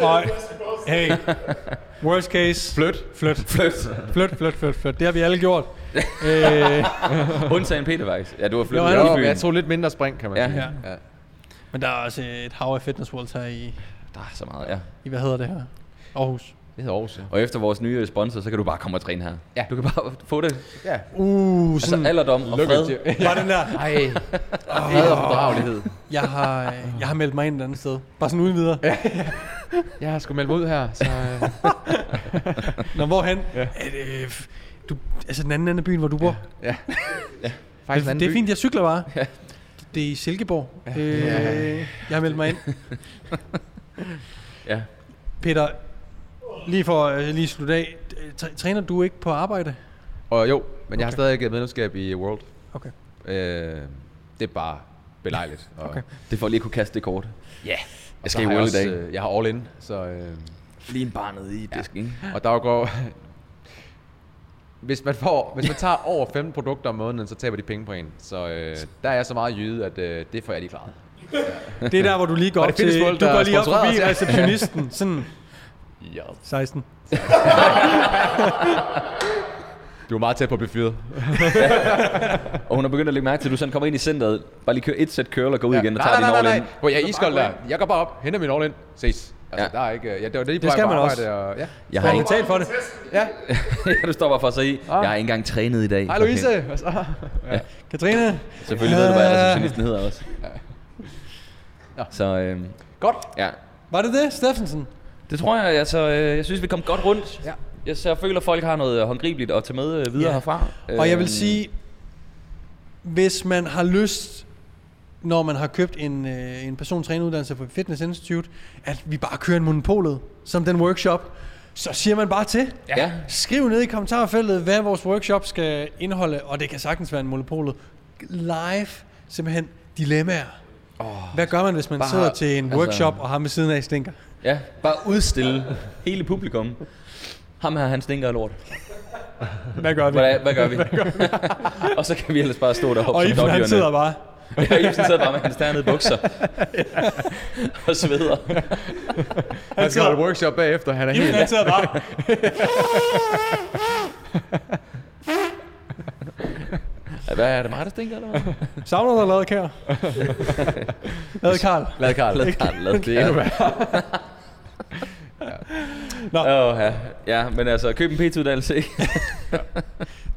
og, hey, worst case. Flyt. Flyt. Flyt. Flyt, flyt, flyt, flyt. Det har vi alle gjort. øh, Undtagen Peter faktisk. Ja, du har flyttet. Jo, lidt han Jo, i men byen. jeg tog lidt mindre spring, kan man Ja. sige. Ja. Ja. men der er også et hav af fitness worlds her i, Der er så meget, ja. i hvad hedder det her? Aarhus. Det hedder Aarhus, ja. Og efter vores nye øh, sponsor, så kan du bare komme og træne her. Ja. Du kan bare få det. ja. Uh, Altså sådan, alderdom og Lykke fred. til. bare den der. Ej, Fred og fordragelighed. Jeg har, øh, jeg har meldt mig ind et andet sted. Bare sådan uden videre. Ja. jeg har sgu meldt mig ud her, så... øh, Nå, hvorhen? Ja. At, øh, f- du, altså den anden ende af byen, hvor du bor. Ja. Faktisk en anden Det er by. fint, jeg cykler bare. Ja. Det er i Silkeborg. Ja. Øh, jeg har meldt mig ind. Ja. Peter, lige for øh, lige at slutte af. øh, træ- Træner du ikke på arbejde? Og jo, men jeg har Okay. stadig ikke medlemskab i World. Okay. Øh, det er bare belejligt. Og, Okay. Det er for lige at kunne kaste det kort. Ja. Jeg Og skal så i har jeg World også, i dag. øh, Jeg har all in, så... Øh, Lige en bar nede i disken, ikke? og der går... Hvis man, får, hvis man tager over 15 produkter om måneden, så taber de penge på en. Så øh, der er jeg så meget jyde, at øh, det får jeg lige klaret. Det er der, hvor du lige går Og op det findes til... folk, du der går lige op sponsorerer forbi os, ja. receptionisten. Sådan Ja. 16. Du er meget tæt på at blive fyret. Og hun har begyndt at lægge mærke til, at du sådan kommer ind i centret, bare lige kører et sæt curl og går ud igen og tager din all in. Hvor jeg er iskold der. Jeg går bare op, henter min all in, ses. Altså, Ja. ja. der er ikke... øh, Ja, det var lige på Det vej skal på man arbejde. Og, ja. Jeg har Har ikke, ikke talt for det? ja. du står bare for at sige, jeg har ikke engang trænet i dag. Ah. Hej Okay. Louise! Og så- Katrine? Selvfølgelig ved du, hvad Øh. receptionisten hedder også. Nå. Så øhm, Godt. ja, Var det det, Steffensen? det tror jeg. Altså, øh, jeg synes, vi kom godt rundt. Ja. Jeg, så jeg føler, at folk har noget håndgribeligt at tage med øh, videre Ja. herfra. Og jeg Øhm, vil sige, hvis man har lyst, når man har købt en, øh, en persontræneruddannelse på Fitness Institute, at vi bare kører en monopolet, som den workshop, så siger man bare til. Ja. Skriv ned i kommentarfeltet, hvad vores workshop skal indeholde, og det kan sagtens være en monopolet. Live, simpelthen dilemmaer. Oh, hvad gør man, hvis man bare, bare- sidder til en altså- workshop, og ham ved siden af stinker? Ja, bare udstille hele publikum. Ham her, han stinker af lort. Hvad gør vi? Hvad, hvad gør vi? og så kan vi ellers bare stå deroppe Og Iben, han sidder bare. Ja, Ibsen sidder bare med hans dernede bukser. og sveder. Han skal sidder- holde workshop bagefter. Han er Iben, helt... han sidder bare. Hvad er det mig, der stinker, eller hvad? Savner du at lade kær? lade Karl. Lad Karl. Lad Karl, lad det. Endnu Nå. Åh, ja. ja, men altså, køb en PT-uddannelse, ikke?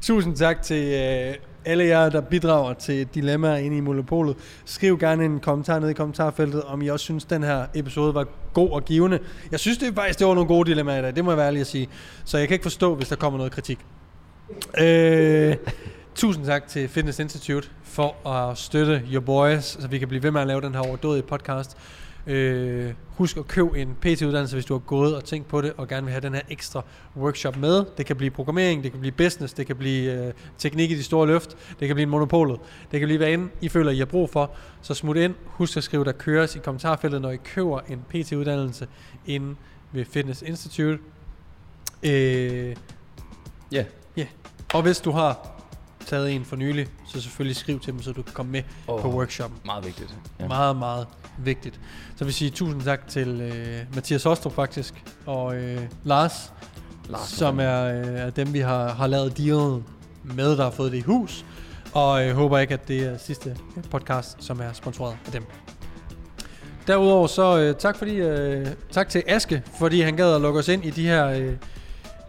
Tusind tak til øh, alle jer, der bidrager til dilemmaer inde i monopolet. Skriv gerne en kommentar ned i kommentarfeltet, om I også synes, den her episode var god og givende. Jeg synes det faktisk, det var nogle gode dilemmaer i dag, det må jeg være ærlig at sige. Så jeg kan ikke forstå, hvis der kommer noget kritik. Øh, tusind tak til Fitness Institute for at støtte your boys, så vi kan blive ved med at lave den her overdådige podcast. Øh, husk at købe en PT-uddannelse, hvis du har gået og tænkt på det, og gerne vil have den her ekstra workshop med. Det kan blive programmering, det kan blive business, det kan blive øh, teknik i de store løft, det kan blive monopolet, det kan blive hvad end I føler, I har brug for. Så smut ind, husk at skrive, der køres i kommentarfeltet, når I køber en PT-uddannelse inde ved Fitness Institute. Øh, Ja. Ja, yeah. og hvis du har taget en for nylig, så selvfølgelig skriv til dem, så du kan komme med oh. Åh. på workshoppen. Meget vigtigt. Ja. Meget, meget vigtigt. Så vil jeg sige tusind tak til øh, Mathias Hostrup faktisk, og øh, Lars, Lars, som er, øh, er dem, vi har, har lavet dealen med, der har fået det i hus. Og jeg øh, håber ikke, at det er sidste podcast, som er sponsoreret af dem. Derudover så øh, tak, fordi, øh, tak til Aske, fordi han gad at lukke os ind i de her øh,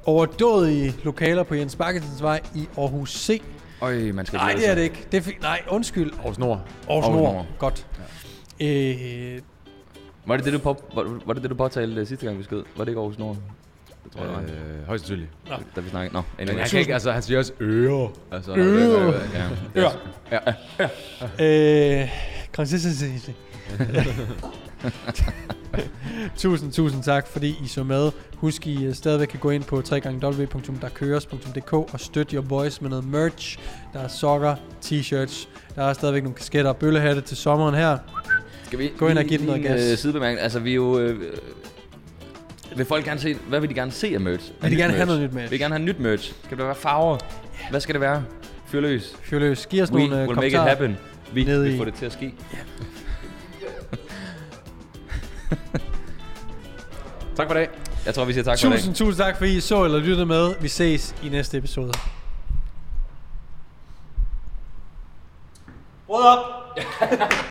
overdådige lokaler på Jens Bakkesens vej i Aarhus C. Øj, man skal Nej, det er det ikke. Det er fi- nej, undskyld. Aarhus Nord. Aarhus Aarhus Nord. Nord. Godt. Ja. Øh, Var det det, du, på, var, var det, det, du påtalte øh, sidste gang, vi skød? Var det ikke Aarhus Nord? Det tror jeg, det Øh, højst sandsynligt. var. Da vi snakkede. Nå, Men anyway. han, kan ikke, altså, han siger også øre. Altså, Øre. Ja. Ja. Ja. Øh, consistency. tusind, tusind tak, fordi I så med. Husk, I øh, stadigvæk kan gå ind på www.derkøres.dk og støtte your boys med noget merch. Der er sokker, t-shirts, der er stadigvæk nogle kasketter og bøllehatte til sommeren her. Skal vi Gå ind og lige- give den noget lige en, gas. øh, sidebemærkning. Altså, vi er jo... Øh, vil folk gerne se... Hvad vil de gerne se af merch? Af Vil de nyt gerne have merch? noget nyt merch? Vil de gerne have nyt merch? Skal der være farver? Hvad skal det være? Fyr løs. Fyr løs. Giv os We nogle øh, will make it kommentarer. happen. Vi ned vil i- få det til at ske. Tak for i dag. Jeg tror, vi siger tak for i dag. Tusind, tusind tak, fordi I så eller lyttede med. Vi ses i næste episode. Råd op!